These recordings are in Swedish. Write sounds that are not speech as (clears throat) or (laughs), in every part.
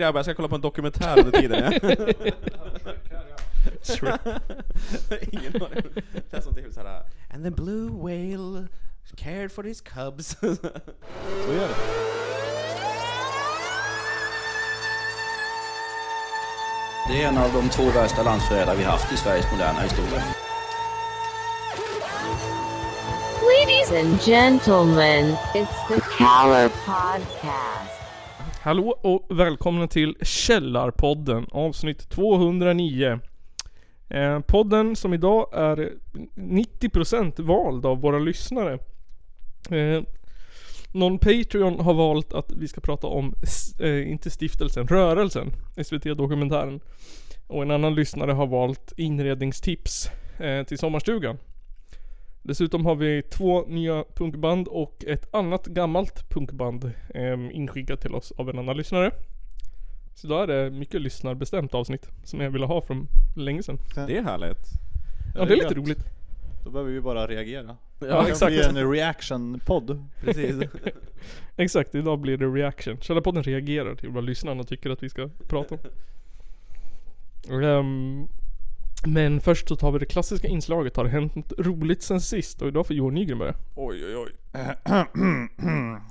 Grabbar, jag ska kolla på en dokumentär under tiden. (laughs) ja. Ingen aning. Det känns som typ såhär... And the blue whale cared for his cubs. Så gör det. Det är en av de två värsta landsförrädare vi haft i Sveriges moderna historia. Ladies and gentlemen, it's the Caller Podcast. Hallå och välkomna till Källarpodden avsnitt 209. Eh, podden som idag är 90% vald av våra lyssnare. Eh, någon Patreon har valt att vi ska prata om, s- eh, inte stiftelsen, rörelsen, SVT-dokumentären. Och en annan lyssnare har valt inredningstips eh, till sommarstugan. Dessutom har vi två nya punkband och ett annat gammalt punkband eh, inskickat till oss av en annan lyssnare. Så då är det mycket lyssnarbestämt avsnitt som jag ville ha från länge sedan. Det är härligt. Ja, det är lite roligt. Då behöver vi bara reagera. Ja, det exakt. blir en reaction-podd. (laughs) Precis. Exakt, idag blir det reaction. Källarpodden reagerar till vad lyssnarna tycker att vi ska prata om. Ehm, men först så tar vi det klassiska inslaget. Har det hänt något roligt sen sist? Och idag får Johan Nygren börja. Oj, oj, oj.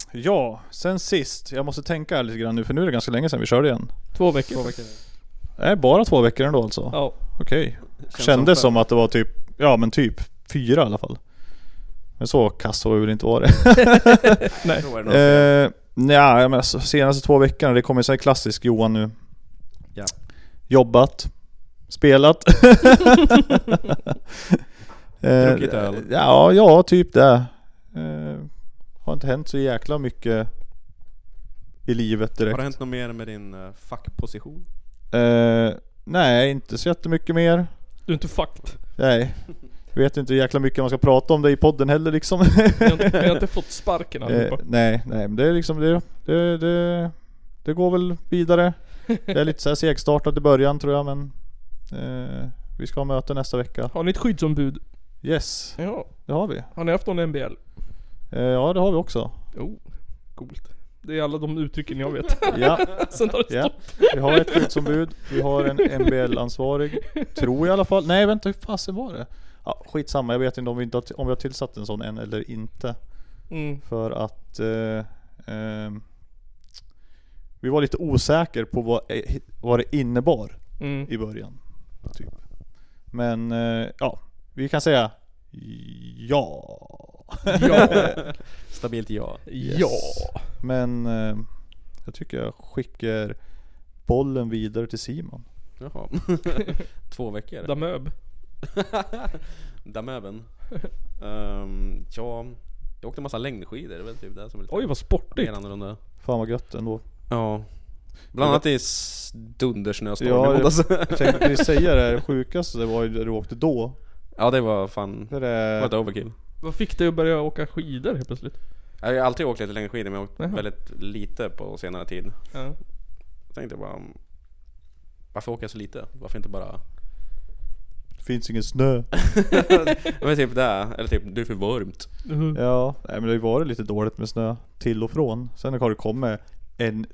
(clears throat) ja, sen sist. Jag måste tänka här lite grann nu för nu är det ganska länge sedan vi körde igen. Två veckor. Nej, bara två veckor ändå alltså? Ja. Okej. Kändes som att det var typ, ja men typ fyra i alla fall. Men så kass har vi väl inte varit. Nej. Tror jag det är något. eh, nja, men alltså, senaste två veckorna, det kommer så här klassisk Johan nu. Ja. Jobbat. Spelat. (laughs) eh, Druckit öl. Ja, ja typ det. Eh, har inte hänt så jäkla mycket i livet direkt. Har det hänt något mer med din eh, fackposition? Eh, nej, inte så jättemycket mer. Du är inte fucked. Nej. Jag vet inte hur jäkla mycket man ska prata om det i podden heller liksom. Jag har inte, jag har inte fått sparken eh, allihopa. nej, nej men det är liksom det. Det, det, det går väl vidare. Det är lite så här segstartat i början tror jag men eh, vi ska ha möte nästa vecka. Har ni ett skyddsombud? Yes, Ja. det har vi. Har ni haft någon NBL? Eh, ja det har vi också. Jo, coolt. Det är alla de uttrycken jag (laughs) vet. Ja, Sen tar det ja. stopp. Vi har ett skyddsombud, vi har en MBL-ansvarig. Tror jag i alla fall. Nej vänta, hur fasen var det? Ja, skitsamma, jag vet inte om vi, inte har, t- om vi har tillsatt en sån än eller inte. Mm. För att eh, ehm, vi var lite osäker på vad, eh, vad det innebar Mm. i början. Typ. Men eh, ja, vi kan säga ja. Ja. (laughs) Stabilt ja. Ja. Men eh, jag tycker jag skickar bollen vidare till Simon. Jaha. (laughs) Två veckor. Damöb. (laughs) Damöben. Um, ja, jag åkte en massa längdskidor. Det är väl typ det som är lite Oj vad mer sportigt. annorlunda. Fan vad gött ändå. Ja. Bland annat i s- dundersnöstorm Ja, i det- måndags. Jag tänkte precis säga det, det sjukaste det var ju där du åkte då. (laughs) Ja det var fan, Det det var ett där, overkill. Vad fick dig att börja åka skidor helt plötsligt? Jag har ju alltid åkt lite längre skidor men jag har åkt Jaha. väldigt lite på senare tid. Ja. Jag tänkte bara, mm, varför åker jag så lite? Varför inte bara... (laughs) finns ingen snö. Men typ det, eller typ du är för varmt. Mm. Ja, nej, men det har ju varit lite dåligt med snö till och från. Sen har det kommit en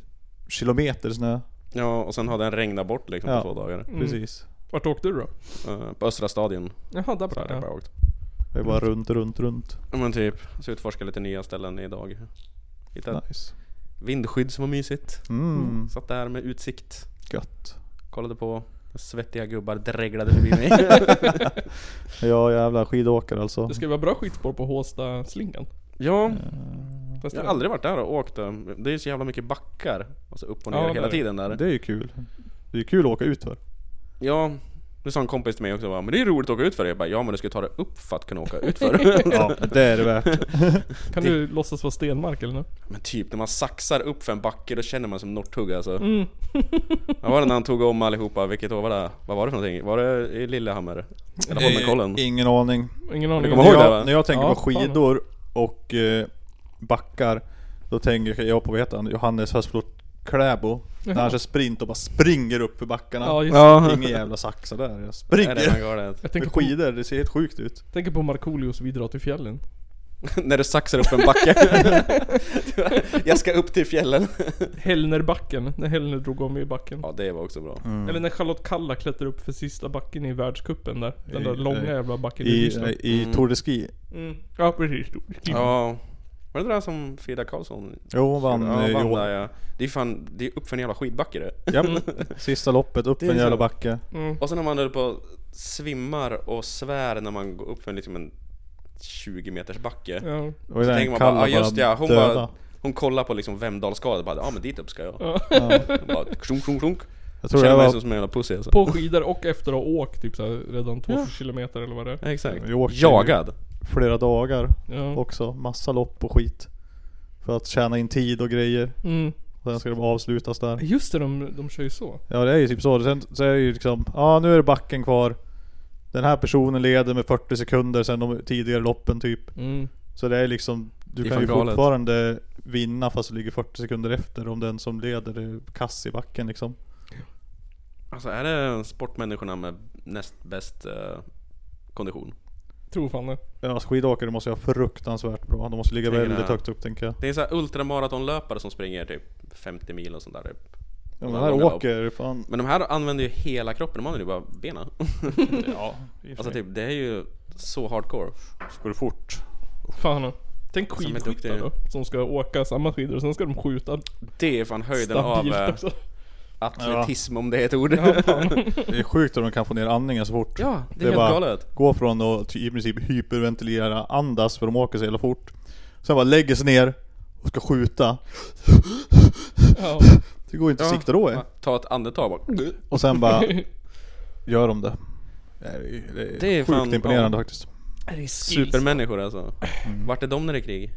kilometer snö. Ja och sen har den regnat bort liksom Ja. på två dagar. Mm. Precis. Vart åkte du då? Eh, på Östra Stadion. Jaha, där Så borta. hade jag Ja. bara åkt. Det är bara runt, runt, runt. Ja, Men typ, så utforska lite nya ställen idag. Hittade Nice. vindskydd som var mysigt. Mm, Satt där med utsikt. gött. Kollade på svettiga gubbar dreglade förbi (laughs) mig. Ja jävla skidåkare alltså. Det ska ju vara bra skidspår på Håsta-slingan. ja, Fast jag det- har aldrig varit där och åkt. eh, Det är ju så jävla mycket backar. Alltså upp och ner Ja, hela där. tiden där. Det är ju kul. Det är ju kul att åka utför. Ja, nu sa en kompis till mig också bara, men det är roligt att åka utför. Jag bara, ja men du ska ju ta det upp för att kunna åka (laughs) utför. Ja, det är det värt. Kan du låtsas vara Stenmark eller nåt? men typ när man saxar upp för en backe då känner man som northugg alltså. Mm. Vad var det när han tog om allihopa? Vilket år var det? Vad var det för någonting? Var det i Lillehammer? Eller Holmenkollen? Eh, Ingen aning. Ingen aning. kommer ihåg när, det, jag, va? när jag tänker Ja, på skidor och eh, backar. Då tänker jag på, vad heter han, Johannes Hösflot Kläbo. När han kör sprint och bara springer upp för (laughs) backarna. Ja, just det. Ja. Ingen jävla saxa där. Jag Är det springer. man gör det? Jag Med tänker på, skidor, det ser helt sjukt ut. tänker på Markoolios Vi drar till fjällen. (laughs) När du saxar upp en (laughs) backe. jag ska upp till fjällen. Hellnerbacken, när Hellner drog om i backen. Ja, det var också bra. Mm. Eller när Charlotte Kalla klättrar upp för sista backen i världskuppen där. Den där I- långa i- jävla backen i I, Ryssland. i Tour de Ski. Mm. Ja precis. Ja. Var det det där som Frida Karlsson Jo, hon vann ja, eh, i vann år. där, ja. Det är fan, det är upp för en jävla skidbacke det. Japp. Sista loppet, upp Det är en jävla så. backe. Mm. Och sen när man höll på och svimmar och svär när man går upp för en, liksom en 20 meters backe. Ja. Och i Så den tänker man bara, kalla ja just ja, hon döda. bara, hon kollar på liksom Vemdalsskadet bara, ja men dit upp ska (laughs) jag. Ja. Och bara, klunk, klunk, klunk. jag tror Känner jag mig var... som en jävla pussy alltså. På skidor och efter att ha åkt typ såhär redan 2000 kilometer eller vad det är. Ja, Exakt. Vi åkte ju- Jagad. flera dagar Ja. också. Massa lopp och skit. För att tjäna in tid och grejer. Mm. Och sen ska de avslutas där. Just det, de, de kör ju så. Ja det är ju typ så. Sen så är det ju liksom, ja nu är det backen kvar. Den här personen leder med 40 sekunder sen de tidigare loppen typ. Mm. Så det är liksom, du Det är kan fan ju galet. fortfarande vinna fast du ligger 40 sekunder efter om den som leder är kass i backen liksom. Alltså är det sportmänniskorna med näst bäst eh, kondition? Tror fan det. Ja, alltså skidåkare måste ju ha fruktansvärt bra. De måste ligga Tänker väldigt det. högt upp tänker jag. Det är så här ultramaratonlöpare som springer typ 50 mil och sånt där typ. Ja, men här Långa lopp. åker fan. Men de här använder ju hela kroppen, de använder ju bara benen. Ja, Alltså typ, det är ju så hardcore. går det fort. Fan. Tänk Som är skidskyttar duktiga. då. Som ska åka samma skidor och sen ska de skjuta Det är fan höjden stabilt av eh, också. atletism om det är ett ord. Ja, Ja, (laughs) fan. Det är sjukt att de kan få ner andningen så fort. det är, helt bara galet. Gå från att ty- i princip hyperventilera, andas för de åker så jävla fort. Sen bara lägger sig ner och ska skjuta. Ja. Det går ju inte att Ja. sikta då. eh. Ja, Ta ett andetag bara. Och sen bara gör de det. Det är, det är, Det är sjukt fan- imponerande ja. faktiskt. Supermänniskor alltså. Mm. Vart är de när det är krig?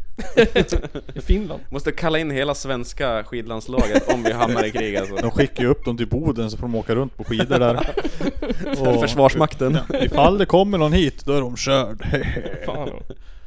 (laughs) I Finland. Måste kalla in hela svenska skidlandslaget om vi hamnar i krig (laughs) alltså. De skickar ju upp dem till Boden så får de åka runt på (laughs) skidor där. Och Försvarsmakten. Ifall det kommer någon hit, då är de körd. Fan.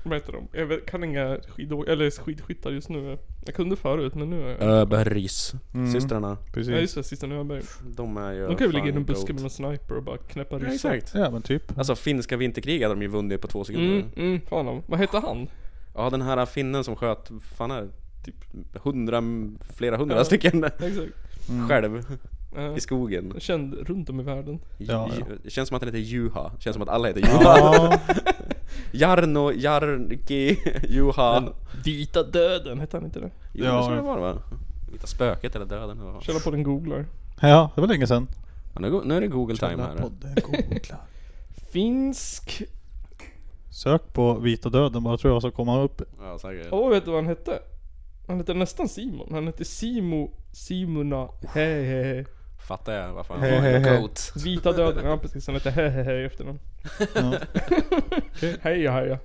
Vad heter de? Jag vet- kan inga skidå- eller skidskyttar just nu. Jag kunde förut men nu är jag... Öbergs. Mm. Systrarna. Ja Precis. just det, sista Nöberg. De är ju De kan ju fan ligga i en buske goat. med någon sniper och bara knäppa Ja, ryssar. exakt. Ja men typ. Alltså finska vinterkriget hade de ju vunnit på två sekunder. Mm, mm, fan om. Vad hette han? Ja den här finnen som sköt, fan är det? Typ hundra, flera hundra Ja. Mm. stycken Exakt. själv Eh, i skogen. känd runt om i världen. Ja, ja. Det känns som att den heter Juha. Det känns som att alla heter Juha. Ja, Jarno, Jarnki, Juha. Vita döden, hette han inte det? Jo, Ja. det tror jag var det va? Vita spöket eller döden eller vad? Källa på den googlar. ja det var länge sedan. Ja, nu, nu är det google time här. Podden googlar. Finsk... Sök på Vita Döden bara tror jag så kommer han upp. Ja, säkert. Åh, vet du vad han hette? Han hette nästan Simon. Han hette Simo... Simona... Hehehe. Fattar jag vad fan. He, he, he. Goat. Vita döden, ja precis. Han hette Hehehe i efternamn. (laughs) Ja. Heja heja.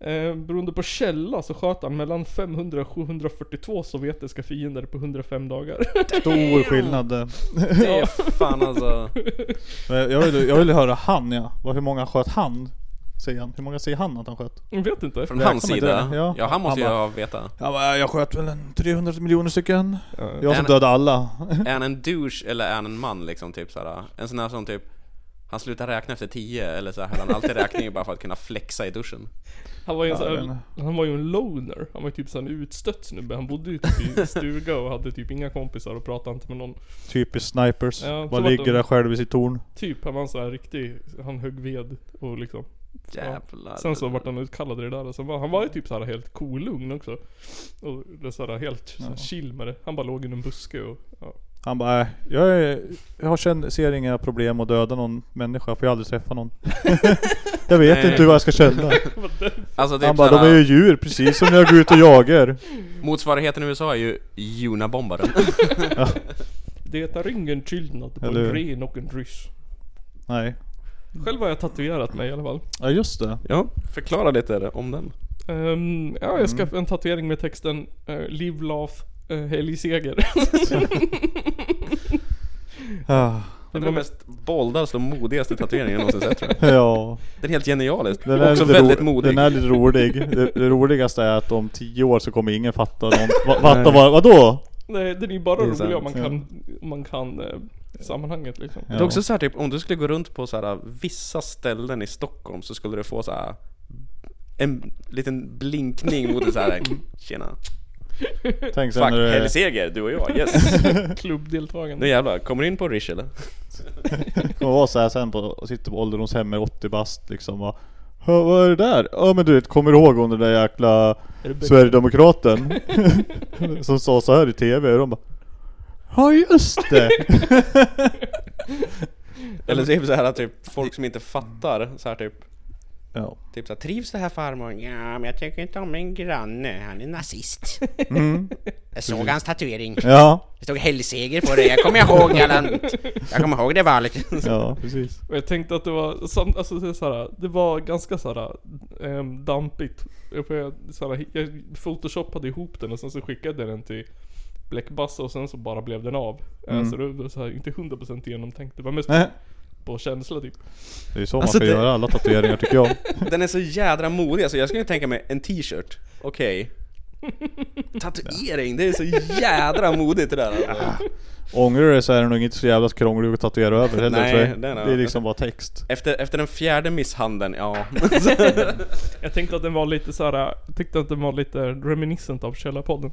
Eh, beroende på källa så sköt han mellan 500 och 742 sovjetiska fiender på 105 dagar. (laughs) Stor skillnad. eh. Det är fan (laughs) alltså. Men Jag vill, jag vill höra han ja. Vad- Hur många sköt han? Säger han. Hur många säger han att han sköt? Jag vet inte. Från Räkna hans med sida. det, ja. Ja, han måste ju Han bara- ha veta. Ja, men jag sköt väl en 300 miljoner stycken. Ja. Jag som En- dödade alla. Är han en douche eller är han en man liksom? Typ såhär. En sån här som typ han slutar räkna efter 10 eller så här höll han alltid räkning bara för att kunna flexa i duschen. Han var ju en, Ja, sån den- här, han var ju en loner. Han var ju typ sån utstött snubbe. Han bodde ju typ (laughs) i stuga och hade typ inga kompisar och pratade inte med någon. Typiskt snipers. Ja, så Bara var ligger de- där själv i sitt torn. Typ, han var en sån här riktig, han högg ved och liksom. Jävlar. Sen så vart han utkallad i det där och sen var, han var ju typ så här helt kolugn också. Och det så här helt så här Ja. chill med det. Han bara låg i en buske och ja. Han bara, äh, jag, är, jag har känd, ser inga problem att döda någon människa för jag har aldrig träffat någon. (laughs) jag vet Nej. inte vad jag ska känna. Alltså typ Han bara, de såhär, är ju djur precis som jag går ut och jagar. motsvarigheten i USA är ju Junabombaren. Det är ingen skillnad på Eller hur? en ren och en ryss. Nej. Själv har jag tatuerat mig i alla fall. Ja just det. (laughs) Ja, förklara lite om den. Ehm, ja, jag ska Mm. ha en tatuering med texten uh, Live, laugh, uh, helg, seger. Ah, Det är den mest boldaste och modigaste tatueringen jag någonsin sett tror jag. Ja. Den är helt genialisk. Den är Också lite ro- väldigt modig. Den är lite rolig. Det, det roligaste är att om tio år så kommer ingen fatta någon. Va, fatta vad, vadå? Nej, den är ju bara är rolig sant, om man kan, om man kan eh, sammanhanget liksom. Det är också så här, typ om du skulle gå runt på så här, vissa ställen i Stockholm så skulle du få så här en liten blinkning mot en så här Tjena. Tänk sen Fuck, när det, helgseger, du och jag. Yes. (laughs) Nu Klubbdeltagande. jävlar, kommer du in på Rish eller? kommer vara så här sen på, och sitter på ålderdomshemmet 80 bast liksom och "Hö, vad är det där? Ja men du vet, kommer du ihåg hon den där jäkla Sverigedemokraten? (laughs) som sa så här i TV och de bara Ja just (laughs) det! Eller typ så här typ folk som inte fattar så här typ ja. Typ såhär, trivs det här farmor? Ja, men jag tycker inte om min granne. Han är nazist. Mm. (laughs) Jag såg hans tatuering. ja, Det stod helgseger på det. Jag kommer (laughs) ihåg Allan. Jag kommer ihåg det valet. ja precis. Och jag tänkte att det var, sam- alltså det, är så här, det var ganska såhär ähm, dampigt. Jag, får- jag- så här, jag photoshoppade ihop den och sen så skickade jag den till Blackbassa och sen så bara blev den av. Eh, Mm. Så det var så här, inte 100% genomtänkt. Det var mest Nej, på känsla typ. det är ju så Alltså, man det- ska göra alla tatueringar tycker jag. Den är så jädra modig, alltså jag skulle kunna tänka mig en t-shirt. Okej. Tatuering, det är så jädra modigt det där alltså. Ångrar du dig så är det nog inte så jävla krånglig att tatuera över heller Nej, tror jag. den har- Det är liksom bara text. efter, efter den fjärde misshandeln, ja. Jag tänkte att den var lite såhär, jag tyckte att den var lite reminiscent av Källarpodden.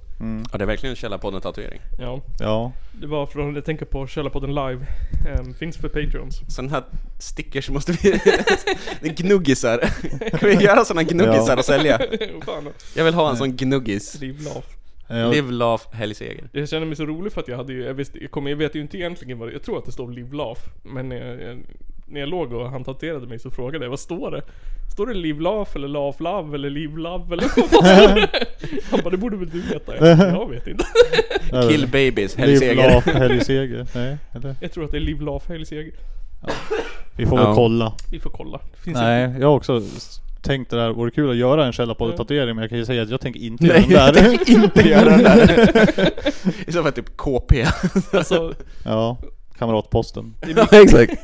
ja, det är verkligen en Källarpodden-tatuering. Ja. Ja. Det var från, jag tänker på Källarpodden live. Ehm, finns för Patreons. Sådana här stickers måste vi... (laughs) det är gnuggisar. kan vi göra sådana gnuggisar Ja. och sälja? (laughs) Fan, Jag vill ha en sån gnuggis. live laugh. Jag, Live, laugh, helgseger. Jag känner mig så rolig för att jag hade ju, jag, visste, jag, kom, jag vet ju inte egentligen vad det, jag tror att det står Live Laugh. Men när jag, jag, när jag låg och han tatuerade mig så frågade jag vad står det? Står det Live Laugh eller Laugh Love eller Live Love eller vad står det? Han bara det borde väl du veta? Jag, bara, jag vet inte. Nej, Kill babies, Liv, helgseger. (laughs) laugh, helgseger. Nej, eller? Jag tror att det är Live Laugh Helgseger. Vi får väl Ja. kolla. Vi får kolla. Det Finns Nej, (laughs) jag har också s- tänkt det där, vore kul att göra en källarpodd-tatuering men jag kan ju säga att jag tänker inte göra (laughs) den där. inte göra den där. I så fall typ KP. inte- Alltså, (laughs) Ja, kamratposten. (laughs) exakt.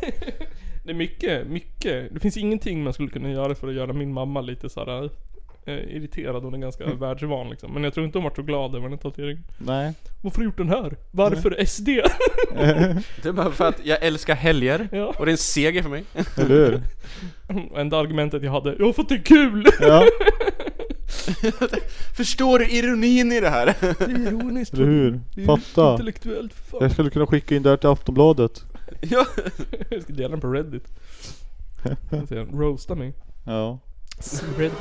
det är mycket, mycket. Det finns ingenting man skulle kunna göra för att göra min mamma lite såhär eh, irriterad. Hon är ganska världsvan liksom. Men jag tror inte hon vart så glad över den tatueringen. Nej. Varför har du gjort den här? Varför SD? (laughs) Det är bara för att jag älskar helger. ja. Och det är en seger för mig. Eller hur? Enda argumentet jag hade, jag har fått det kul! Ja, Förstår du ironin i det här? (laughs) Ironiskt. eller hur? Fatta. Intellektuellt för fan. Jag skulle kunna skicka in det här till Aftonbladet. ja. Jag ska dela den på (laughs) Reddit. Jag ser, Roasta mig. Ja. Reddit.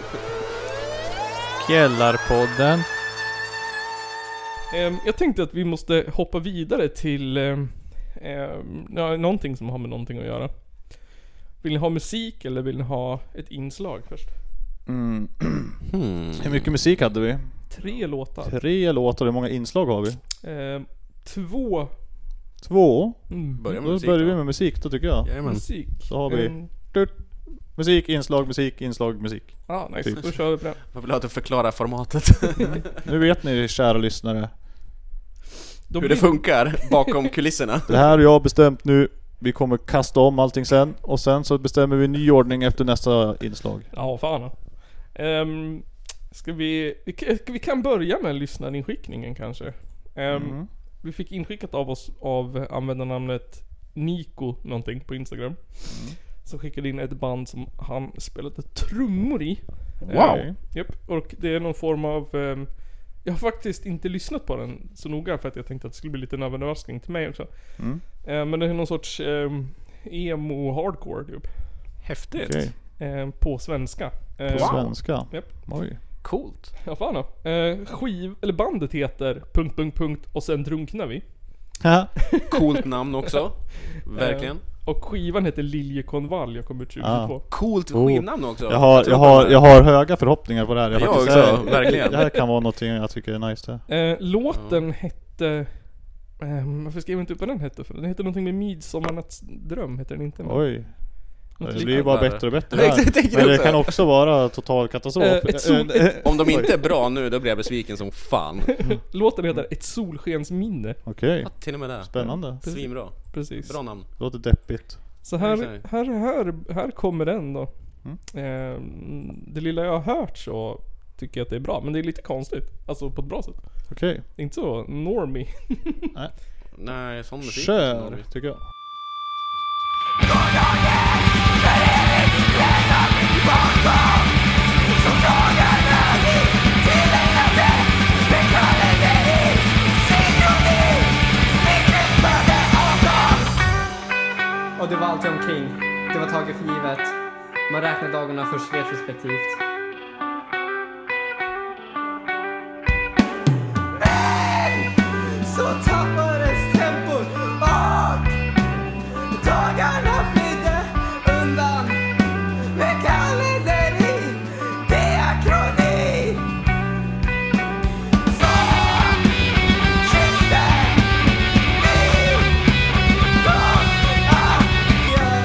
Källarpodden. Ehm, jag tänkte att vi måste hoppa vidare till ehm, ehm, ja, någonting som har med någonting att göra. Vill ni ha musik eller vill ni ha ett inslag först? Mm. Hmm. Hur mycket musik hade vi? Tre låtar. Tre låtar, hur många inslag har vi? Ehm, två Två? mm, Börja med Då musik börjar vi då. med musik då tycker jag. Jajamän. musik. Så har vi- Ehm, Musik, inslag, musik, inslag, musik. ah, nice. Typ. Då kör vi på den. Jag vill ha att du förklarar (laughs) formatet. Nu vet ni kära lyssnare. Då Hur det blir- funkar bakom kulisserna. Det här har jag bestämt nu. Vi kommer kasta om allting sen. Och sen så bestämmer vi en ny ordning efter nästa inslag. Ja, fan. Um, ska vi, vi, kan- vi kan börja med lyssnarinskickningen kanske. Ehm, Mm. Vi fick inskickat av oss av användarnamnet Niko någonting på Instagram. Mm. Som skickade in ett band som han spelade trummor i. Ehm, Wow. Japp, och det är någon form av... ehm, jag har faktiskt inte lyssnat på den så noga för att jag tänkte att det skulle bli lite en överraskning till mig också. Mm. Eh, men det är någon sorts ehm, emo-hardcore typ. Häftigt. Okej. Eh, på svenska. Eh, På svenska. Japp. Oj. Coolt. Ja fan då. Eh, skiv, eller bandet heter... Punkt, punkt, punkt och sen drunknar vi. Haha. Coolt namn också. Verkligen. Och skivan heter Liljekonvalj och kom ut 2022. Coolt Oh. skivnamn också. jag, har, tror jag, på har, det. jag har höga förhoppningar på det här. Jag faktiskt också, är- verkligen. Det här kan vara någonting jag tycker är nice det. Eh, låten hette... ehm, varför skrev jag inte upp vad den hette för? Den hette någonting med Midsommarnattsdröm, heter den inte? Mm. men Oj. något Det liknande. blir ju bara bättre och bättre Exakt, jag här. tänker Men det också. kan också vara total katastrof. Eh, ett sol- Eh, eh, Om de inte är bra nu, då blir jag besviken som (laughs) fan. Låten heter Ett solskensminne. Okej. Ja, till och med det. Spännande. Svinbra. Precis. Bra namn. Låter deppigt. Så Ja, här, exakt. här, här, här kommer den då. Mm. Ehm, det lilla jag har hört så tycker jag att det är bra, men det är lite konstigt. Alltså på ett bra sätt. Okej. Det är inte så normie. Nej, sån musik. Kör, tycker jag. Som och det var alltid omkring. Det var taget för givet. Man räknar dagarna först retrospektivt. så tappades tempot och dagarna flydde undan med kalenderi, diakroni. Så kysste vi gång adjö.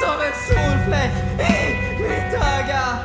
Som en solfläck i mitt öga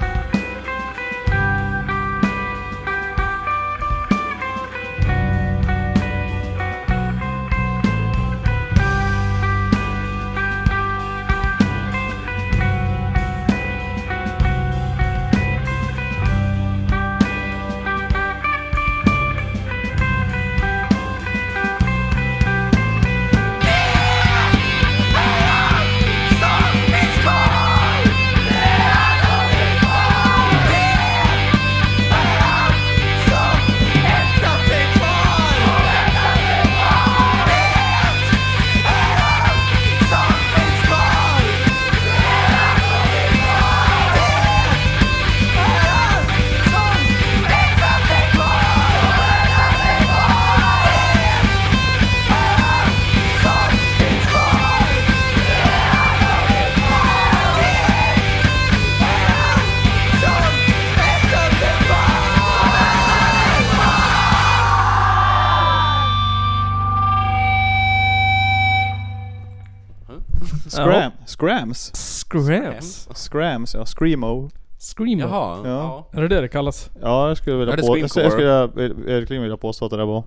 Scram, Scrams. Scrams? Scrams, ja. Screamo. Screamo? Jaha, ja. Ja. Är det det det kallas? Ja, jag skulle vilja, Ja, det är på, jag skulle, jag screamcore. skulle verkligen vilja påstå att det där var.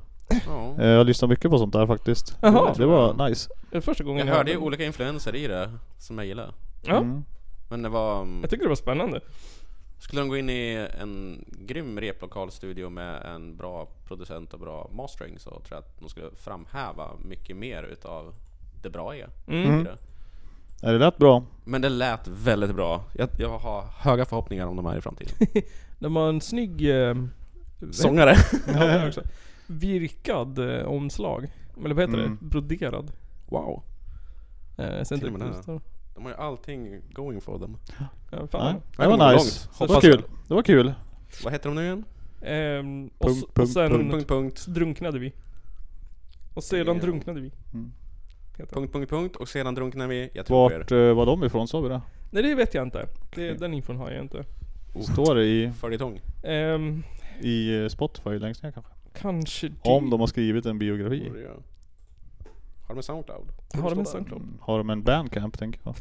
ja. Eh, Jag lyssnar mycket på sånt där faktiskt. Jaha. Det var nice. Det är första gången Jag hörde ju olika influenser i det som jag gillar. Ja. Mm. Men det var... mm, Jag tycker det var spännande. Skulle de gå in i en grym replokalstudio med en bra producent och bra mastering så tror jag att de skulle framhäva mycket mer utav det bra är. Mm. Mm. i det. Ja, det lät bra. Men det lät väldigt bra. Jag, jag har höga förhoppningar om de här i framtiden. De har en snygg... Eh, Sångare! ja, det är också. Virkad eh, omslag. Eller vad heter det? Mm. Broderad. Wow! Eh, sen Till typ, och med De har ju allting going for them. ja, Ja, fan. det kommer var nice. långt. Det var Hoppas kul. Det Typ var kul. Vad heter de nu igen? Ehm, och, s- Punkt, och punkt, sen Punkt, punkt, punkt. drunknade vi. Och sedan Ja. drunknade vi. Mm. Heter det. Punkt, punkt, punkt. Och sedan drunknar vi. Jag tror på er. Vart eh, var de ifrån? Sa vi det? Nej det vet jag inte. Det, den infon har jag inte. Står det i, Följetong. Ehm, i eh, Spotify längst ner kanske? kanske det. Om de har skrivit en biografi. Borde jag- Har de en Soundcloud? Har de Står där. en Soundcloud? Mm, Har de en bandcamp tänker jag.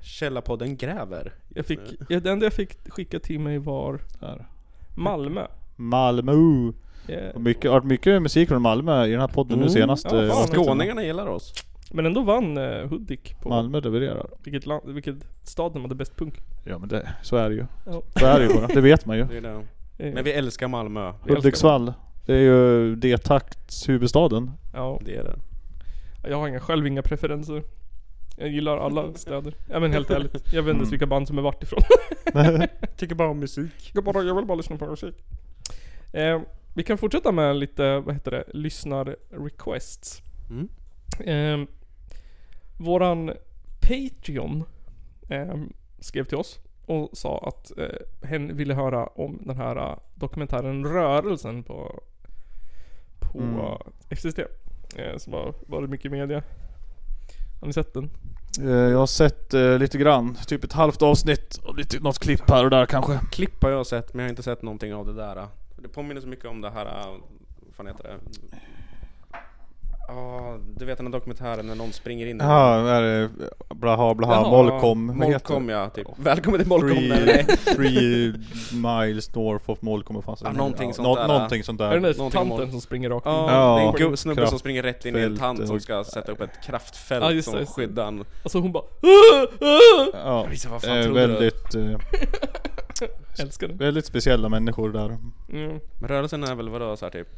Källarpodden gräver. Eh, Jag fick, jag, det enda jag fick skicka till mig var Där. Malmö. Malmö. Eh, Och Mycket, det har varit mycket musik från Malmö i den här podden nu senast. Ja, eh, fan. avsnitten. Skåningarna gillar oss. Men ändå vann eh, Hudik på Malmö levererar. vilket, land, vilket stad de hade bäst punk. Ja men det, så är det ju. Ja. Så är det ju bara. (laughs) Det vet man ju. Det är det. Eh, Men vi älskar Malmö. älskar Hudiksvall. Det är ju D-taktshuvudstaden. ja, Det är det. jag har inga, själv inga preferenser. Jag gillar (laughs) alla städer. Ja men helt ärligt. Jag vet inte ens vilka band som är vart ifrån. Tycker bara om musik. Jag, bara, jag vill bara lyssna på musik. Eh, vi kan fortsätta med lite, vad heter det, lyssnar-requests. Mm. Eh, våran Patreon eh, skrev till oss och sa att eh, hen ville höra om den här eh, dokumentären Rörelsen på på XTC. Eh, som har varit mycket i media. Har ni sett den? Eh, Jag har sett eh, lite grann, typ ett halvt avsnitt och lite, något klipp här och där kanske. Klipp har jag sett men jag har inte sett någonting av det där. eh. Det påminner så mycket om det här, eh, vad fan heter det? Ja, du vet den här dokumentären när någon springer in i Ja, det här är blaha blaha, Jaha, Molkom. vad heter Molkom ja, typ. Välkommen till Molkom! Free- eller nej. Three miles north of Molkom och fanns Ja, någonting sånt nå- där. Någonting sånt är det där. den där någonting om tanten Molk. som springer rakt in? Ja, (laughs) Ja, det är en gud- snubbe som kraftfält springer rätt in i en tant som och- ska sätta upp ett kraftfält Ja, just det, som just det. skyddar en. Alltså hon bara ah, "Åh, åh!" Ja, Visst, vad fan eh, trodde du? väldigt, eh, Älskar den. väldigt speciella människor där. Mm. Men rörelsen är väl vadå så här typ?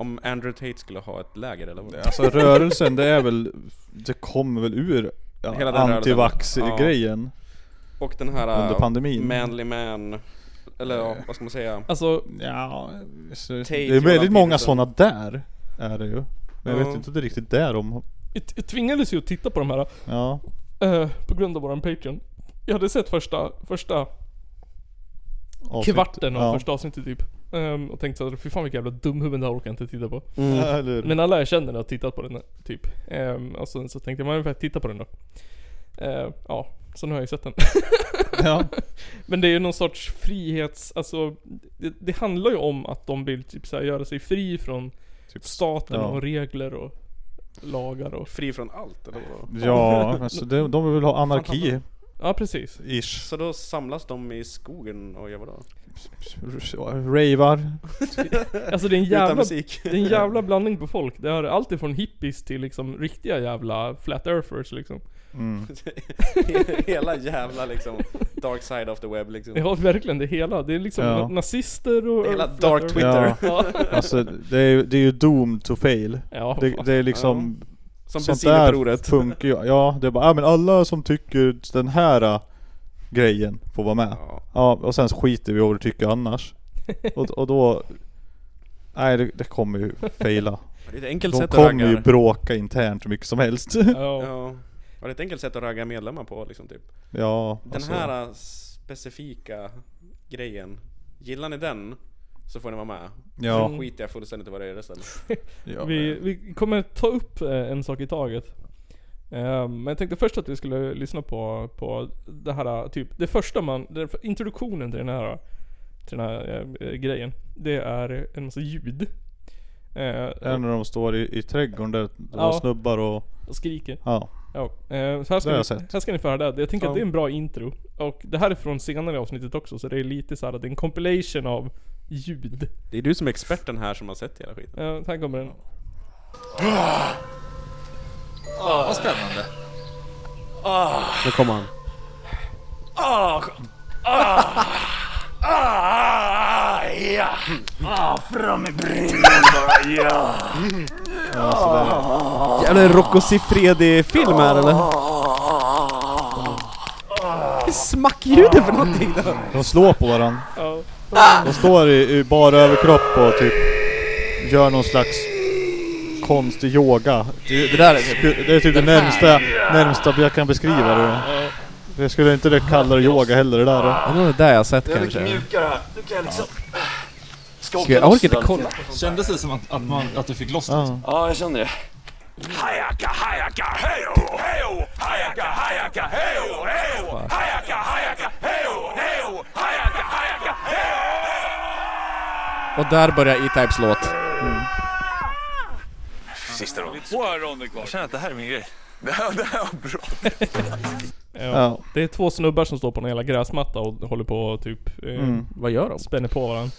Om Andrew Tate skulle ha ett läger eller vad? Alltså rörelsen, det är väl, det kommer väl ur ja, Hela den antivax-grejen. Och den här... Under eh, pandemin. Manly man. Eller ja, vad ska man säga? Alltså, Ja, så, Take det är väldigt Jordan många Peterson. sådana där. Är det ju. Men jag Ja. vet inte om det är riktigt där de... jag t- jag tvingades ju att titta på de här Ja. eh, på grund av våran Patreon. Jag hade sett första, första avsnitt. kvarten av Ja. första avsnittet typ. Ehm, och tänkte såhär, fy fan vilka jävla dumhuvuden det här orkar jag inte titta på. Ja, eller hur? Men alla jag känner har tittat på den här, typ. Ehm, och sen så tänkte jag, man får titta på den då. Ehm, ja, så nu har jag ju sett den. (laughs) Ja. Men det är ju någon sorts frihets... Alltså, det, det handlar ju om att de vill typ så här, göra sig fri från Typ, staten ja. och regler och lagar och... Fri från allt eller vadå? Ja, alltså de, de vill väl ha anarki. Ja, precis. Ish. Så då samlas de i skogen och gör vadå? Ravar. Alltså det (laughs) är Utan en jävla... musik. (laughs) Det är en jävla blandning på folk. Det är allt ifrån hippies till liksom riktiga jävla flat earthers liksom. Mm. Hela jävla liksom dark side of the web liksom. (laughs) Ja verkligen, det är hela. Det är liksom Ja. na- nazister och... Hela flat dark earth- Twitter. (laughs) Ja. Alltså det är, ju- det är ju doomed to fail. Ja, Det, fan. det är liksom, Som sånt där bensinupproret. funkar ju. Ja, det är bara, ja men alla som tycker den här äh, grejen får vara med. Ja. Ja, och sen så skiter vi i vad du tycker annars. Och, och då... Nej, det, det kommer ju faila. Det är ett enkelt De sätt att kommer ju ragga. bråka internt hur mycket som helst. ja. Ja. Och det är ett enkelt sätt att ragga medlemmar på liksom typ. (laughs) Ja, alltså, Den här eh, specifika grejen. Gillar ni den? Så får ni vara med. Ja. Sen skiter jag fullständigt i vad det är resten. ja. Vi, vi kommer ta upp eh, en sak i taget. Eh, Men jag tänkte först att vi skulle lyssna på, på det här eh, typ, det första man, det, introduktionen till den här, eh, till den här eh, grejen. Det är en massa ljud. Eh, Det är när de står i, i trädgården där, där Ja. snubbar och... och skriker. Ja. Ja, eh, så här ska, Det har ni, jag sett. här ska ni få höra det. Jag tänker Ja. att det är en bra intro. Och det här är från senare avsnittet också, så det är lite så här att det är en compilation av ljud. Det är du som är experten här som har sett hela skiten. Eh, här kommer den. Nu kommer han. Ah, ja! Ah, fram i brillen bara, ja! Jävla en Rocco Siffredi-film här eller? Smackljudet för någonting då! De slår på varandra. Ja. De står i, i bara överkropp och typ gör någon slags konstig yoga. Det, det där är, det, det är typ det närmsta, närmsta jag kan beskriva det. Jag skulle inte det kalla det yoga heller det där. Det var det där jag sett kanske. Ska jag, jag orkar inte kolla. Kändes det som att, att, man, att du fick loss det? Ja. Ja, jag känner det. Och där börjar E-Types låt. Jag känner att det här är min grej. Ja. Det är två snubbar som står på en jävla gräsmatta och håller på och typ eh, Vad gör de? spänner på varandra.